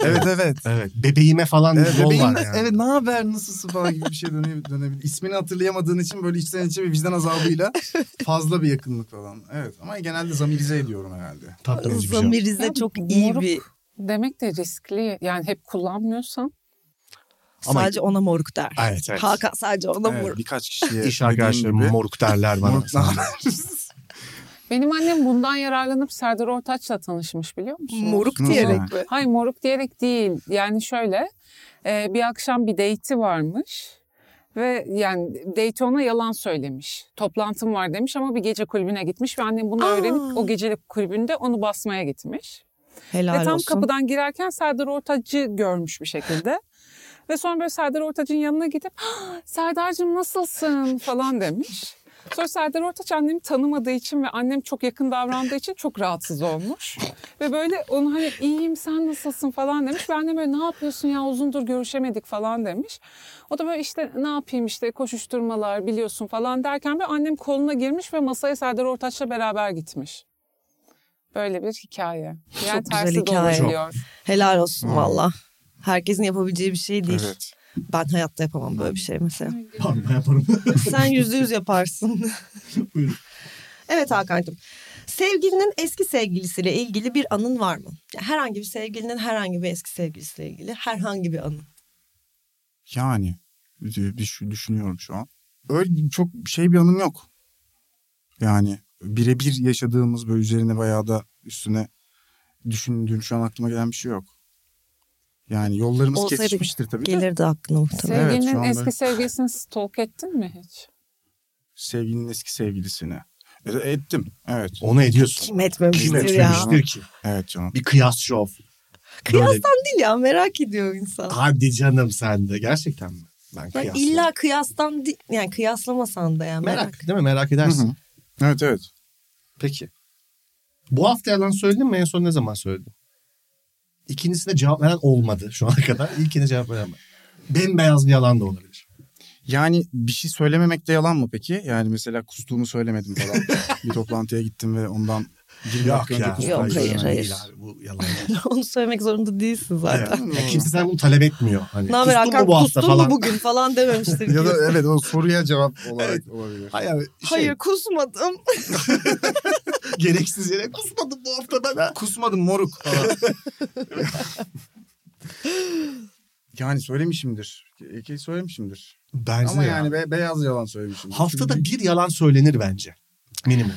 S4: Evet evet.
S3: Evet bebeğime falan
S4: Evet,
S3: bir yol
S4: bebeğin-
S3: var yani.
S4: evet ne haber nasılsın falan gibi bir şey döne- dönebilir. İsmini hatırlayamadığın için böyle içten içe bir vicdan azabıyla fazla bir yakınlık falan. Evet ama genelde zamirize ediyorum herhalde.
S3: Tatlı bir şey. yok.
S2: Zamirize
S5: Ya,
S2: çok iyi
S5: moruk
S2: bir
S5: Demek de riskli. Yani hep kullanmıyorsan.
S3: Ama-
S2: sadece ona moruk der.
S3: Evet, evet.
S2: Hakan sadece ona
S4: Evet,
S2: moruk.
S4: birkaç kişiye
S3: İş
S4: dediğim
S3: arkadaşlarım
S4: gibi-
S3: moruk derler bana.
S4: Moruk ne haber?
S5: Benim annem bundan yararlanıp Serdar Ortaç'la tanışmış biliyor musun?
S2: Moruk
S4: Nasıl
S2: diyerek
S4: yani?
S2: mi?
S5: Hayır moruk diyerek değil. Yani şöyle e, bir akşam bir date'i varmış. Ve yani date ona yalan söylemiş. Toplantım var demiş ama bir gece kulübüne gitmiş. Ve annem bunu
S2: Aa.
S5: öğrenip o gecelik kulübünde onu basmaya gitmiş.
S2: Helal
S5: ve tam
S2: olsun.
S5: kapıdan girerken Serdar Ortaç'ı görmüş bir şekilde. Ve sonra böyle Serdar Ortaç'ın yanına gidip "Ah, Serdar'cığım nasılsın falan demiş. Sonra Serdar Ortaç annemi tanımadığı için ve annem çok yakın davrandığı için çok rahatsız olmuş. ve böyle onu hani iyiyim sen nasılsın falan demiş. Ben de böyle ne yapıyorsun ya uzundur görüşemedik falan demiş. O da böyle işte ne yapayım işte koşuşturmalar biliyorsun falan derken böyle annem koluna girmiş ve masaya Serdar Ortaç'la beraber gitmiş. Böyle bir hikaye. Yani
S2: güzel
S5: tersi
S2: hikaye.
S5: dolayılıyor.
S2: Helal olsun valla. Herkesin yapabileceği bir şey değil.
S4: Evet.
S2: Ben hayatta yapamam böyle bir şey mesela.
S3: Pardon ben yaparım.
S2: Sen yüzde yüz yaparsın.
S3: Buyurun.
S2: evet Hakan'cığım. Sevgilinin eski sevgilisiyle ilgili bir anın var mı? Ya Herhangi bir sevgilinin herhangi bir eski sevgilisiyle ilgili herhangi bir anın.
S4: Yani bir şu- düşünüyorum şu an. Öyle çok şey bir anım yok. Yani birebir yaşadığımız böyle üzerine bayağı da üstüne düşündüğüm şu an aklıma gelen bir şey yok. Yani yollarımız
S2: Olsaydı
S4: kesişmiştir tabii de.
S2: Gelirdi aklına muhtemelen.
S4: Evet,
S5: Sevgilinin
S4: şu anda-
S5: eski sevgilisini stalk ettin mi hiç?
S4: Sevgilinin eski sevgilisine. E, ettim. Evet.
S3: Onu ediyorsun.
S2: Kim etmemiştir
S3: Kim
S2: ya.
S3: etmemiştir ki?
S4: Evet canım.
S3: Bir kıyas şov. Böyle-
S2: Değil ya merak ediyor insan.
S3: Hadi canım sen de. Gerçekten mi? Ben
S2: Ya
S3: kıyasla.
S2: illa kıyastan değil- yani kıyaslamasan da yani merak.
S3: Merak değil mi? Merak edersin.
S4: Hı hı. Evet evet.
S3: Peki. Bu hafta yalan söyledin mi? En son ne zaman söyledin? İkincisine cevap veren olmadı şu ana kadar. İlkine cevap veren var. Bembeyaz bir yalan da olabilir.
S4: Yani bir şey söylememek de yalan mı peki? Yani mesela kustuğumu söylemedim falan. bir toplantıya gittim ve ondan 20 dakika önce kustuğumu
S2: Yok, hayır,
S4: söylemedim.
S2: hayır.
S3: Değil abi, bu yalan.
S2: Onu söylemek zorunda değilsin zaten.
S3: Evet. Ya kimse sen bunu talep etmiyor. Hani,
S2: Hmm. Ne haber
S3: kustun
S2: Hakan
S3: mu bu hafta
S2: kustun mu
S3: falan?
S2: bugün falan dememiştir.
S4: Ya da
S2: diyorsun.
S4: evet o soruya cevap olarak olabilir.
S3: Hayır, abi, şey,
S2: Hayır kusmadım.
S3: gereksiz yere kusmadım bu hafta ben. ha.
S4: Kusmadım moruk yani söylemişimdir. Eki söylemişimdir.
S3: Bence
S4: Ama
S3: de
S4: yani
S3: ya.
S4: be- beyaz yalan söylemişimdir.
S3: haftada
S4: Çünkü
S3: bir yalan söylenir bence. Minimum.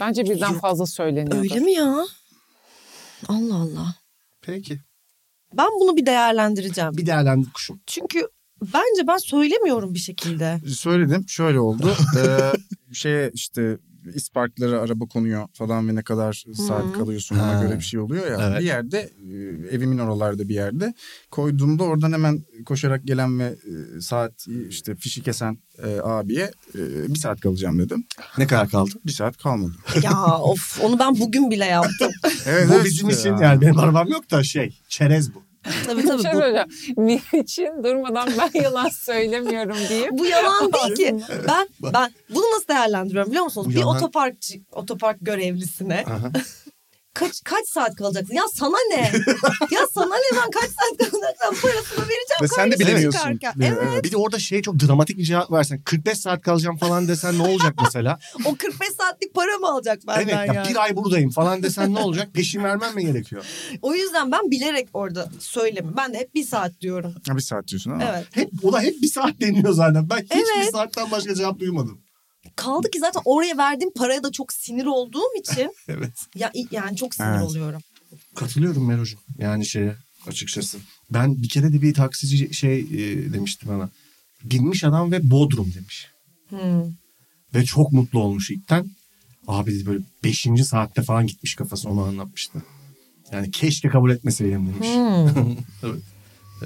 S5: Bence birden fazla söyleniyor.
S2: Öyle mi ya? Allah Allah.
S3: Peki.
S2: Ben bunu bir değerlendireceğim.
S3: Bir değerlendir kuşum.
S2: Çünkü bence ben söylemiyorum bir şekilde.
S4: söyledim şöyle oldu. ee, şey işte isparklara araba konuyor falan ve ne kadar saat kalıyorsun ona
S3: Ha.
S4: göre bir şey oluyor ya.
S3: Evet.
S4: Bir yerde e, evimin oralarda bir yerde koyduğumda oradan hemen koşarak gelen ve e, saat işte fişi kesen e, abiye e, bir saat kalacağım dedim.
S3: Ne kadar kaldı?
S4: Bir saat kalmadı.
S2: ya of onu ben bugün bile yaptım.
S4: Evet,
S3: bu
S4: evet
S3: bizim
S4: işte
S3: için
S4: ya.
S3: yani benim arabam yok da şey çerez bu.
S2: tabii
S5: Bir şey
S2: tabii.
S5: söyleyeceğim. Niçin durmadan ben yalan söylemiyorum diye.
S2: Bu, bu yalan değil ki. Ben
S3: Bak.
S2: ben bunu nasıl değerlendiriyorum biliyor musunuz?
S3: Bu
S2: bir
S3: yalan-
S2: otoparkçı otopark görevlisine
S3: Aha.
S2: kaç kaç saat kalacaksın? Ya sana ne? ya sana ne ben kaç saat kalacaksam parasını vereceğim.
S4: Ve sen de
S2: kardeşim
S4: bilemiyorsun.
S2: çıkarken.
S4: Evet.
S2: Evet.
S3: Bir de orada şey çok dramatik bir cevap versen 45 saat kalacağım falan desen ne olacak mesela?
S2: O 45 saatlik para mı alacak benden
S3: evet ya
S2: yani?
S3: bir ay buradayım falan desen ne olacak? Peşin vermem mi gerekiyor?
S2: O yüzden ben bilerek orada söylemi. Ben de hep bir saat diyorum.
S4: Ha, Bir saat diyorsun ama.
S2: Evet.
S3: Hep o da hep bir saat deniyor zaten. Ben
S2: Evet.
S3: hiçbir saatten başka cevap duymadım.
S2: Kaldı ki zaten oraya verdiğim paraya da çok sinir olduğum için
S3: Evet.
S2: ya yani çok sinir
S4: Evet.
S2: oluyorum.
S3: Katılıyorum Merocuğum. Yani şeye açıkçası. Ben bir kere de bir taksici şey e, demişti bana. Binmiş adam ve Bodrum demiş.
S2: Hmm.
S3: Ve çok mutlu olmuş ilkten. Abi dedi böyle 5. saatte falan gitmiş kafası onu anlatmıştı. Yani keşke kabul etmeseydim demiş.
S2: Hmm.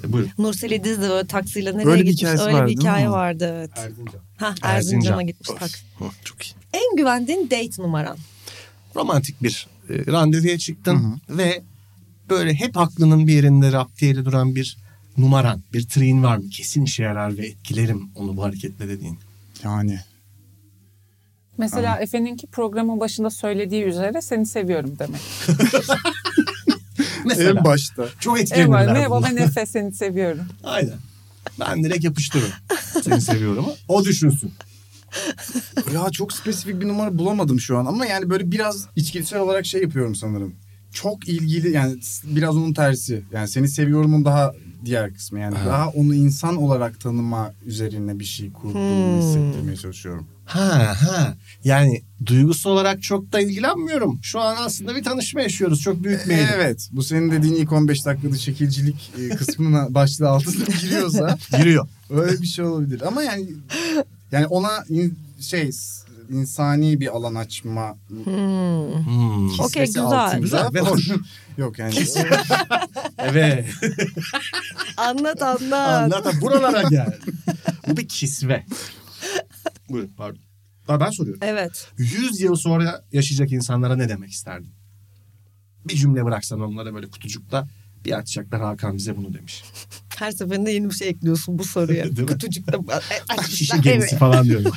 S3: E, buyurun.
S2: Nurseli Diz de böyle taksiyle nereye
S4: Öyle bir
S2: gitmiş?
S4: hikayesi
S2: öyle
S4: vardı,
S2: bir
S4: değil mi
S2: hikaye
S4: onun?
S2: vardı evet.
S3: Erdincan.
S2: Hah, Erzincan'a gitmiş taksi.
S3: çok iyi.
S2: En güvendiğin date numaran.
S3: Romantik bir e, randevuya çıktın ve böyle hep aklının bir yerinde raptiyeli duran bir numaran, bir triğin var mı? Kesin işe yarar ve etkilerim onu bu hareketle dediğin.
S4: Yani.
S5: Mesela Efe'ninki programın başında söylediği üzere seni seviyorum demek.
S3: Mesela
S4: En başta.
S3: çok
S5: Evet,
S3: etkilenirler
S5: merhaba
S3: bundan.
S5: ben Efe seni seviyorum.
S3: Aynen. Ben direkt yapıştırırım. Seni seviyorum. O düşünsün.
S4: Ya çok spesifik bir numara bulamadım şu an ama yani böyle biraz içgüdüsel olarak şey yapıyorum sanırım. Çok ilgili yani s- biraz onun tersi. Yani seni seviyorumun daha diğer kısmı yani
S3: Aha.
S4: daha onu insan olarak tanıma üzerine bir şey kurduğumu
S3: Hmm.
S4: hissettirmeye çalışıyorum.
S3: Ha ha. Yani duygusal olarak çok da ilgilenmiyorum. Şu an aslında bir tanışma yaşıyoruz. Çok büyük bir eğilim.
S4: Evet bu senin dediğin ilk 15 dakikada şekilcilik e, kısmına başlığı altına giriyorsa
S3: Giriyor.
S4: öyle bir şey olabilir ama yani yani ona in- şey s- insani bir alan açma
S3: Hmm.
S4: hissesi
S2: Okey, güzel.
S4: altında-
S3: Güzel ve hoş.
S4: Yok yani
S3: Evet.
S2: Anlat anlat.
S3: Anlat buralara gel. Bu bir kisve. Buyurun pardon. Ha, ben soruyorum.
S2: Evet.
S3: 100 yıl sonra yaşayacak insanlara ne demek isterdin? Bir cümle bıraksan onlara böyle kutucukta bir açacaklar Hakan bize bunu demiş.
S2: Her seferinde yeni bir şey ekliyorsun bu soruya.
S3: Değil mi?
S2: Kutucukta A- açmışlar.
S3: Şişi gemisi
S2: Evet.
S3: falan diyorum.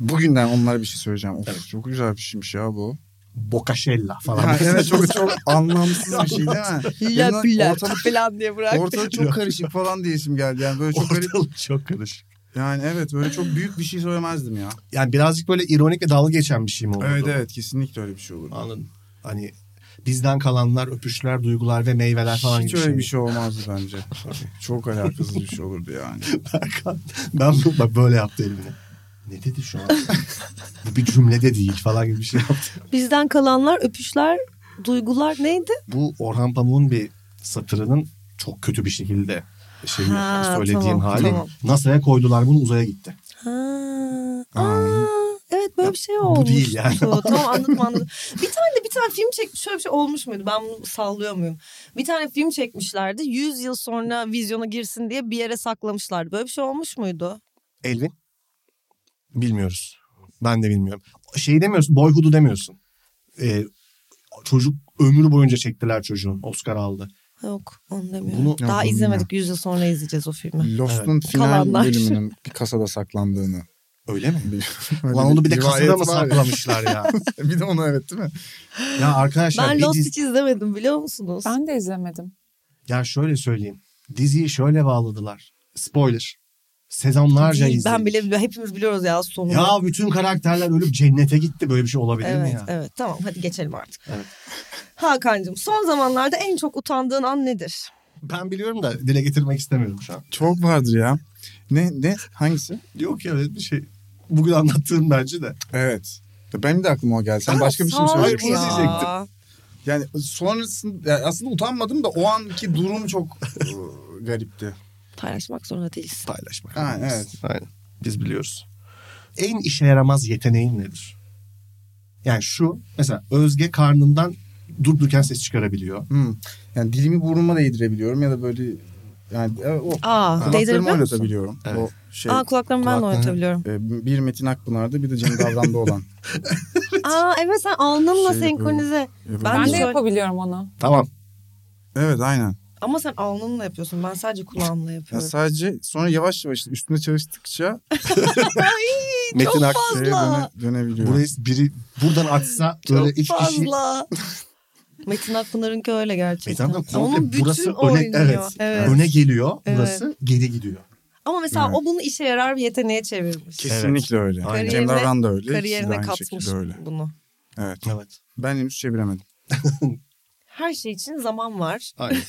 S4: Bugünden onlara bir şey söyleyeceğim. Of, Çok güzel bir şeymiş ya bu.
S3: Bokaşella falan.
S4: Ha, evet çok çok anlamsız bir şey değil mi?
S2: Hiller
S4: Yanına
S2: piller
S4: ortalık-
S2: falan diye bırak.
S4: Ortalık çok karışık falan diye isim geldi. Yani böyle çok garip.
S3: Ortalık çok karışık.
S4: Yani evet böyle çok büyük bir şey söylemezdim ya.
S3: Yani birazcık böyle ironik ve dalga geçen bir şey mi oldu?
S4: Evet evet kesinlikle öyle bir şey olur.
S3: Anladım. Hani bizden kalanlar, öpüşler, duygular ve meyveler falan
S4: Hiç
S3: gibi
S4: öyle bir
S3: şey.
S4: şey olmazdı bence. çok alakasız bir şey olurdu yani.
S3: Hakan, ben bu, bak böyle yaptı elini. Ne dedi şu an? bu bir cümlede değil falan gibi bir şey yaptı.
S2: Bizden kalanlar öpüşler, duygular neydi?
S3: Bu Orhan Pamuk'un bir satırının çok kötü bir şekilde şey
S2: Ha,
S3: söylediğim
S2: tamam,
S3: hali.
S2: tamam.
S3: NASA'ya koydular bunu uzaya gitti.
S2: Ha.
S4: Aa.
S2: Aa, evet böyle bir şey olmuş.
S3: değil yani.
S2: tamam anladım anladım. Bir tane bir tane film çekmiş şöyle bir şey olmuş muydu? Ben bunu sallıyor muyum? Bir tane film çekmişlerdi. 100 yıl sonra vizyona girsin diye bir yere saklamışlardı. Böyle bir şey olmuş muydu?
S3: Elvin? Bilmiyoruz. Ben de bilmiyorum. Şey demiyorsun, Boyhood'u demiyorsun. Ee, çocuk ömür boyunca çektiler çocuğun. Oscar aldı.
S2: Yok onu demiyorum.
S4: Bunu-
S2: Daha
S4: Yok,
S2: izlemedik. 100 yıl sonra izleyeceğiz o
S3: Hmm.
S2: filmi.
S4: Lost'un final
S2: Kalanlar.
S4: bölümünün bir kasada saklandığını.
S3: Öyle mi?
S4: Öyle
S3: Ulan onu bir de kasada
S4: rivayet
S3: mı
S4: var ya.
S3: saklamışlar ya?
S4: bir de onu evet değil mi?
S3: ya arkadaşlar
S2: Ben
S3: bir
S2: Lost
S3: dizi-
S2: hiç izlemedim biliyor musunuz?
S5: Ben de izlemedim.
S3: Ya şöyle söyleyeyim. Diziyi şöyle bağladılar. Spoiler. Sezonlarca
S2: Değil,
S3: izledik.
S2: ben bile bile- hepimiz biliyoruz ya sonunu.
S3: Ya bütün karakterler ölüp cennete gitti. Böyle bir şey olabilir mi
S2: evet,
S3: ya?
S2: evet tamam hadi geçelim artık.
S3: Evet.
S2: Hakan'cığım son zamanlarda en çok utandığın an nedir?
S3: Ben biliyorum da dile getirmek istemiyorum şu an.
S4: Çok vardır ya. Ne ne hangisi?
S3: Yok ya öyle bir şey. Bugün anlattığım bence de.
S4: Evet. Benim de aklıma o geldi. Sen
S2: Aa,
S4: başka bir şey mi
S2: sağ ol
S4: söyleyeceksin?
S2: ya.
S4: Yani sonrasında yani aslında utanmadım da o anki durum çok e, garipti.
S2: Paylaşmak zorunda değilsin.
S3: Paylaşmak.
S4: Ha,
S3: zorundayız.
S4: evet.
S3: Aynen. Biz biliyoruz. En işe yaramaz yeteneğin nedir? Yani şu mesela Özge karnından durdurken ses çıkarabiliyor.
S4: Hmm. Yani dilimi burnuma değdirebiliyorum ya da böyle yani e, o
S2: Aa,
S4: kulaklarımı
S2: değdirebiliyor musun?
S4: oynatabiliyorum.
S3: Evet.
S4: O şey
S2: Aa kulaklarımı ben de
S3: Kulaklarını-
S2: oynatabiliyorum.
S4: e, bir Metin Akpınar'da bir de Cem Davran'da olan.
S2: Aa evet sen alnınla
S4: Şey
S2: senkronize. Ben
S5: Ben de
S2: de-
S5: yapabiliyorum onu.
S3: Tamam.
S4: Evet aynen.
S2: Ama sen alnınla yapıyorsun. Ben sadece kulağımla
S4: Ya
S2: yapıyorum.
S4: sadece sonra yavaş yavaş üstüne çalıştıkça
S3: Metin Ak
S4: şeye döne, dönebiliyor.
S3: burayı biri buradan atsa böyle üç kişi
S2: fazla. Metin Akpınar'ınki öyle gerçekten.
S4: E,
S3: Metin Akpınar komple
S2: Onun bütün
S3: burası öne,
S2: oynuyor.
S3: evet,
S2: Evet.
S3: öne geliyor
S2: Evet.
S3: burası geri gidiyor.
S2: Ama mesela
S4: Evet.
S2: o bunu işe yarar bir yeteneğe çevirmiş.
S4: Kesinlikle öyle.
S3: Aynen.
S4: Cem Davran da öyle. İkisi de
S2: Kariyerine
S4: aynı
S2: katmış
S4: şekilde öyle.
S2: bunu.
S4: Evet.
S3: Evet.
S4: Ben henüz çeviremedim.
S2: Her şey için zaman var.
S3: Aynen.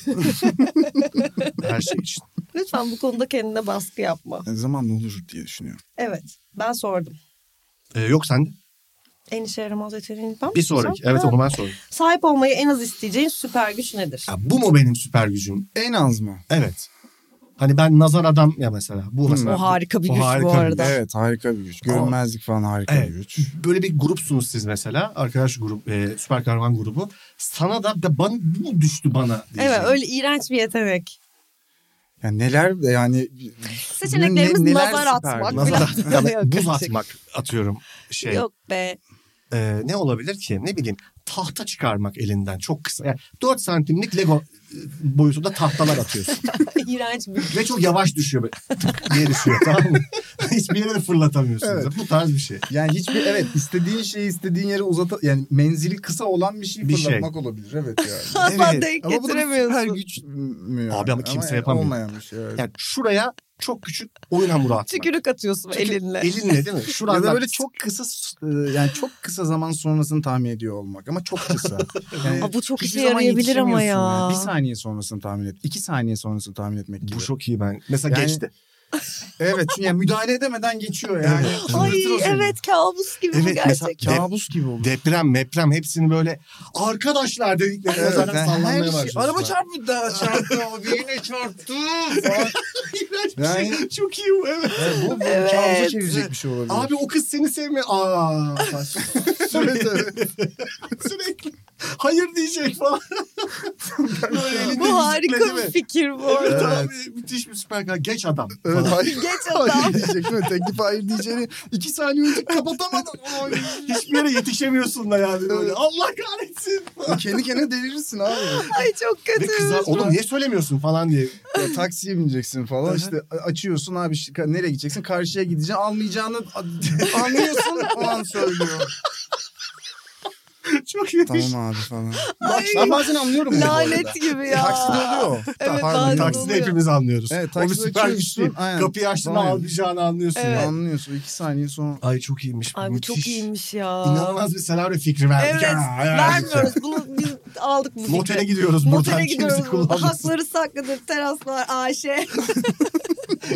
S3: Her şey için.
S2: Lütfen bu konuda kendine baskı yapma.
S4: Yani zamanla olur diye düşünüyorum.
S2: Evet ben sordum.
S3: Ee, yok sen de.
S2: En işe yaramaz yeteneğin ben mi
S3: bir sonraki.
S2: soracağım?
S3: Evet
S2: Ha.
S3: onu ben sorayım.
S2: Sahip olmayı en az isteyeceğin süper güç nedir?
S3: Ya, bu mu benim süper gücüm?
S4: En az mı?
S3: Evet. Hani ben nazar adam ya mesela. Bu mesela.
S2: O harika bir
S3: O
S2: güç
S3: harika
S2: bu
S3: bir-
S2: arada.
S4: Evet harika bir güç. Görünmezlik falan harika
S3: Evet.
S4: bir güç.
S3: Böyle bir grupsunuz siz mesela. Arkadaş grup, e, süper kahraman grubu. Sana da, da bana, bu düştü bana diyeceğim.
S2: Evet öyle iğrenç bir yetenek.
S4: Yani neler de yani
S2: Seçeneklerimiz
S4: Ne- neler
S2: nazar
S4: süper
S2: atmak.
S4: güç?
S3: Nazar
S2: falan.
S3: atmak,
S2: şey Yok,
S3: buz
S2: gerçek.
S3: atmak atıyorum şey.
S2: Yok be.
S3: E, ne olabilir ki? Ne bileyim tahta çıkarmak elinden çok kısa. Yani 4 santimlik Lego e, boyutunda tahtalar atıyorsun.
S2: İğrenç bir
S3: Ve çok yavaş düşüyor böyle. Tık diye düşüyor tamam mı? Hiçbir yere de fırlatamıyorsun.
S4: Evet.
S3: Bu tarz bir şey.
S4: yani hiçbir evet istediğin şeyi istediğin yere uzata yani menzili kısa olan bir şey
S3: Bir
S4: fırlatmak olabilir evet yani.
S2: Asla denk
S4: Ama bu da bir süper
S2: getiremiyorsun.
S4: güç mü?
S3: Abi ama kimse yapamıyor.
S4: Olmayan bir şey. Evet.
S3: Yani şuraya çok küçük oyun hamuru atmak.
S2: Tükürük atıyorsun
S3: Çünkü
S2: elinle.
S3: Elinle değil mi? Şuradan
S4: ya da böyle çok kısa e, yani çok kısa zaman sonrasını tahmin ediyor olmak ama çok kısa. Yani
S2: Aa, bu çok
S4: hiçbir
S2: işe
S4: zaman
S2: yarayabilir ama ya.
S4: yetişemiyorsun yani. Bir saniye sonrasını tahmin et. iki saniye sonrasını tahmin etmek gibi.
S3: bu çok iyi ben. Mesela
S4: Yani-
S3: geçti.
S4: Evet çünkü yani müdahale edemeden geçiyor yani.
S2: Ay
S4: Fırlatır o seni.
S2: evet kabus gibi bu
S3: Evet, mesela-
S2: gerçekten.
S4: Kabus gibi olur.
S3: Deprem, meprem hepsini böyle arkadaşlar dedikleri
S4: Evet,
S3: zaten
S4: yani her
S3: sallanmaya
S4: şey-
S3: başlıyorsun.
S4: araba çarptı da çarptı ama birine çarptı falan.
S3: İğrenç bir
S4: Yani-
S3: şey. Çok iyi bu evet.
S4: Yani bu, bu
S2: Evet.
S4: kabusa çevirecek bir şey olabilir.
S3: Abi o kız seni sevmiyor. Aa.
S4: evet, evet.
S3: Sürekli. Hayır diyecek falan. Böyle elinde
S2: Bu harika
S3: müzikle,
S2: bir
S3: değil mi?
S2: fikir bu
S3: Evet,
S2: arada.
S3: abi müthiş bir süper kahraman. Geç adam.
S4: Evet,
S3: falan.
S4: hayır.
S2: Geç adam.
S4: Hayır diyecek değil mi? Teklif hayır diyeceğini iki saniye önce kapatamadım. Oy.
S3: Hiçbir yere yetişemiyorsun da yani. Böyle. Allah kahretsin.
S4: Kendi kendine delirirsin abi.
S2: Ay çok
S3: Ve
S2: kötü.
S3: kızlar oğlum niye söylemiyorsun falan diye.
S4: Ya, taksiye bineceksin falan
S3: Aha.
S4: işte a- açıyorsun abi şi- ka- nereye gideceksin karşıya gideceksin almayacağını a- anlıyorsun o an söylüyor.
S3: Çok iyi.
S4: tamam abi falan.
S2: Ay,
S4: Ben bazen anlıyorum bunu bu arada.
S2: Lanet gibi ya.
S4: Takside oluyor.
S2: Evet,
S4: Pardon,
S2: bazen
S4: takside.
S3: Takside
S2: oluyor.
S3: hepimiz anlıyoruz.
S4: Evet,
S3: o bir
S4: takside
S3: süper güç
S4: açıyorsun,
S3: değil.
S4: aynen.
S3: Kapıyı açtığında
S4: Aynen.
S3: almayacağını anlıyorsun.
S2: Evet.
S3: ya.
S4: Anlıyorsun iki saniye sonra.
S3: Ay çok iyiymiş.
S2: Ay bu çok iyiymiş ya.
S3: İnanılmaz bir senaryo fikri verdik.
S2: Evet.
S3: ha. Ay, ay.
S2: Vermiyoruz. Bunu biz aldık bu fikri.
S3: Motel'e gidiyoruz
S2: Motel'e
S3: buradan. Kimse
S2: gidiyoruz. burada.
S3: kullanmasın.
S2: Hakları saklıdır. Teraslar, Ayşe.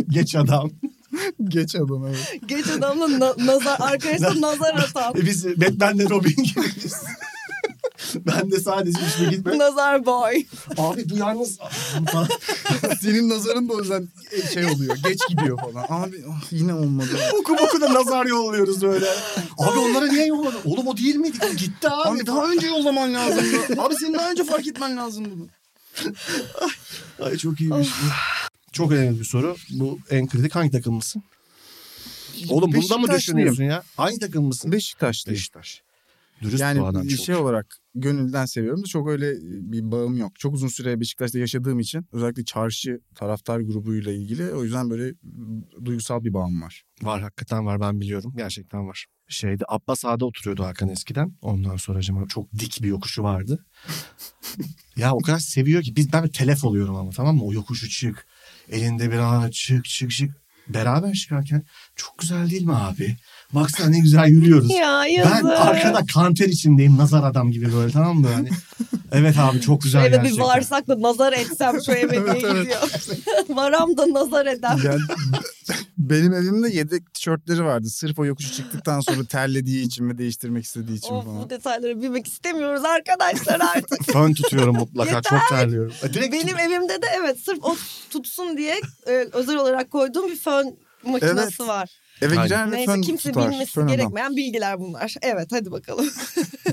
S3: Geç adam.
S4: Geç adam evet.
S2: Geç adamla na- nazar, arkadaşlar nazar atan.
S3: E biz Batman'le Robin gibiyiz. ben de sadece işime gitme.
S2: nazar boy.
S3: Abi bu yalnız falan.
S4: Senin nazarın da o yüzden şey oluyor. Geç gidiyor falan. Abi ah, yine olmadı.
S3: boku boku da nazar yolluyoruz böyle. Abi onlara niye yolladın? Oğlum o değil miydi? Gitti abi.
S4: Abi daha önce yollaman lazımdı. Abi senin daha önce fark etmen lazımdı bunu.
S3: Ay çok iyiymiş bu. Çok önemli bir soru. Bu en kritik hangi takımlısın? Oğlum bunda mı
S4: Beşiktaşlıyım.
S3: düşünüyorsun ya? Hangi takımlısın?
S4: Beşiktaş'tayım.
S3: Beşiktaş. Dürüst bu adam
S4: Yani
S3: çok.
S4: şey olarak gönülden seviyorum da çok öyle e, bir bağım yok. Çok uzun süre Beşiktaş'ta yaşadığım için özellikle çarşı taraftar grubuyla ilgili o yüzden böyle duygusal bir bağım var.
S3: Var hakikaten var ben biliyorum. Gerçekten var. Şeyde Abbas Ağa'da oturuyordu Hakan eskiden. Ondan sonra acaba çok dik bir yokuşu vardı. ya o kadar seviyor ki biz ben bir telef oluyorum ama tamam mı? O yokuşu çık. Elinde bir ağaç çık çık çık. Beraber çıkarken çok güzel değil mi abi? Baksana ne güzel yürüyoruz.
S2: Ya yazık.
S3: ben arkada kanter içindeyim nazar adam gibi böyle tamam mı? Yani, evet abi çok güzel
S2: Şöyle bir
S3: gerçekten.
S2: varsak da nazar etsem şu eve diye gidiyor. Varam da nazar edem.
S4: Yani benim evimde yedek tişörtleri vardı. Sırf o yokuşu çıktıktan sonra terlediği için mi değiştirmek istediği için
S2: Of
S4: falan.
S2: bu detaylara bilmek istemiyoruz arkadaşlar artık.
S3: Fön tutuyorum mutlaka çok terliyorum. E, Direkt
S2: Benim evimde de evet sırf o tutsun diye e, özel olarak koyduğum bir fön makinesi
S4: Evet.
S2: var.
S4: Eve
S3: Aynen.
S4: girer ve
S2: Neyse
S4: fön
S2: kimse
S4: tutar.
S2: bilmesi
S4: Fön adam.
S2: gerekmeyen bilgiler bunlar. Evet hadi bakalım.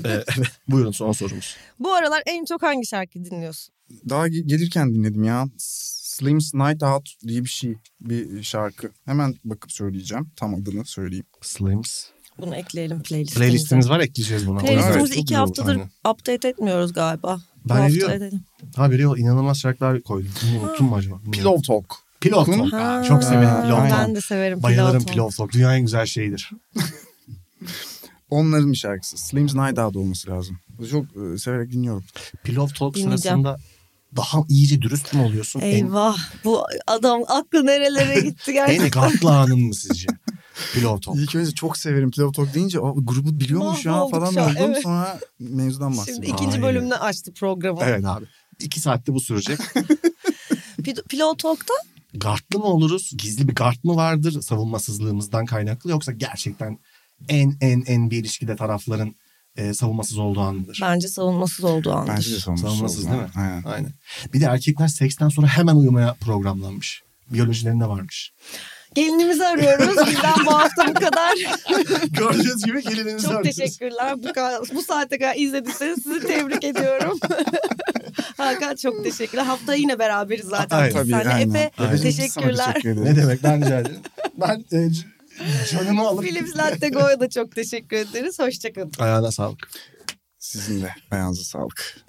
S3: E, evet. Buyurun son sorumuz.
S2: Bu aralar en çok hangi şarkı dinliyorsun?
S4: Daha ge- gelirken dinledim ya. Slim's Night Out diye bir şey. Bir şarkı. Hemen bakıp söyleyeceğim. Tam adını söyleyeyim.
S3: Slims.
S2: Bunu ekleyelim playlistimize.
S3: Playlistimiz var ekleyeceğiz buna.
S2: Playlistimizi
S3: Çok
S2: iki
S3: iyi olur,
S2: haftadır
S3: aynen.
S2: update etmiyoruz galiba. Bu
S3: Ben
S2: hafta
S3: ediyorum.
S2: edelim.
S3: Ha biri o inanılmaz şarkılar koydum. Bunu unuttum mu acaba? Pilot.
S4: Pillow Talk.
S3: Pilot Talk. Aa, çok severim Pilot
S2: Ben
S3: Talk.
S2: de severim
S3: Bayılırım
S2: Pilot.
S3: Pilot Talk. Dünyanın en güzel şeyidir.
S4: Onların bir şarkısı. Slim's Night Out olması lazım. Çok e, severek dinliyorum.
S3: Pilot Talk
S2: Dinleyeceğim.
S3: sırasında daha iyice dürüst mü oluyorsun? En,
S2: Eyvah bu adam aklı nerelere gitti
S3: en
S2: gerçekten.
S3: gaflı anın mı sizce? Pilot Talk.
S4: İlk önce çok severim Pillow Talk deyince o grubu biliyormuş ya
S2: Mahvolduk
S4: falan
S2: şu an,
S4: oldum.
S2: evet.
S4: Sonra mevzudan bahsediyorum.
S2: Şimdi ikinci
S3: Ay.
S2: bölümünü açtı programı.
S3: Evet abi. İki saatte bu sürecek.
S2: Pil- Pilot Talk'ta
S3: Gartlı mı oluruz? Gizli bir gart mı vardır savunmasızlığımızdan kaynaklı yoksa gerçekten en en en bir ilişkide tarafların e, savunmasız olduğu an mıdır?
S2: bence savunmasız olduğu andır.
S4: Bence de savunmasız.
S3: Savunmasız
S4: oldu.
S3: değil mi?
S4: Aynen.
S3: Aynen. Bir de erkekler seksten sonra hemen uyumaya programlanmış. Biyolojilerinde varmış.
S2: Gelinimizi arıyoruz. Bizden bu hafta bu kadar.
S3: Gördüğünüz gibi gelinimizi
S2: Çok
S3: arıyoruz.
S2: teşekkürler. Bu, ka- bu saate kadar izlediyseniz sizi tebrik ediyorum. Hakan çok teşekkürler. Hafta yine beraberiz zaten.
S3: Aynen.
S2: biz
S4: Tabii,
S2: seninle.
S4: aynen.
S2: Efe
S4: Efe'cim, biz sana
S2: teşekkürler.
S4: teşekkür
S3: Ne
S4: ederiz.
S3: demek ben rica ederim. Ben e, c- canımı alıp...
S2: Philips Latte Go'ya da çok teşekkür ederiz. Hoşçakalın.
S3: Ayağına sağlık.
S4: Sizin de ayağınıza sağlık.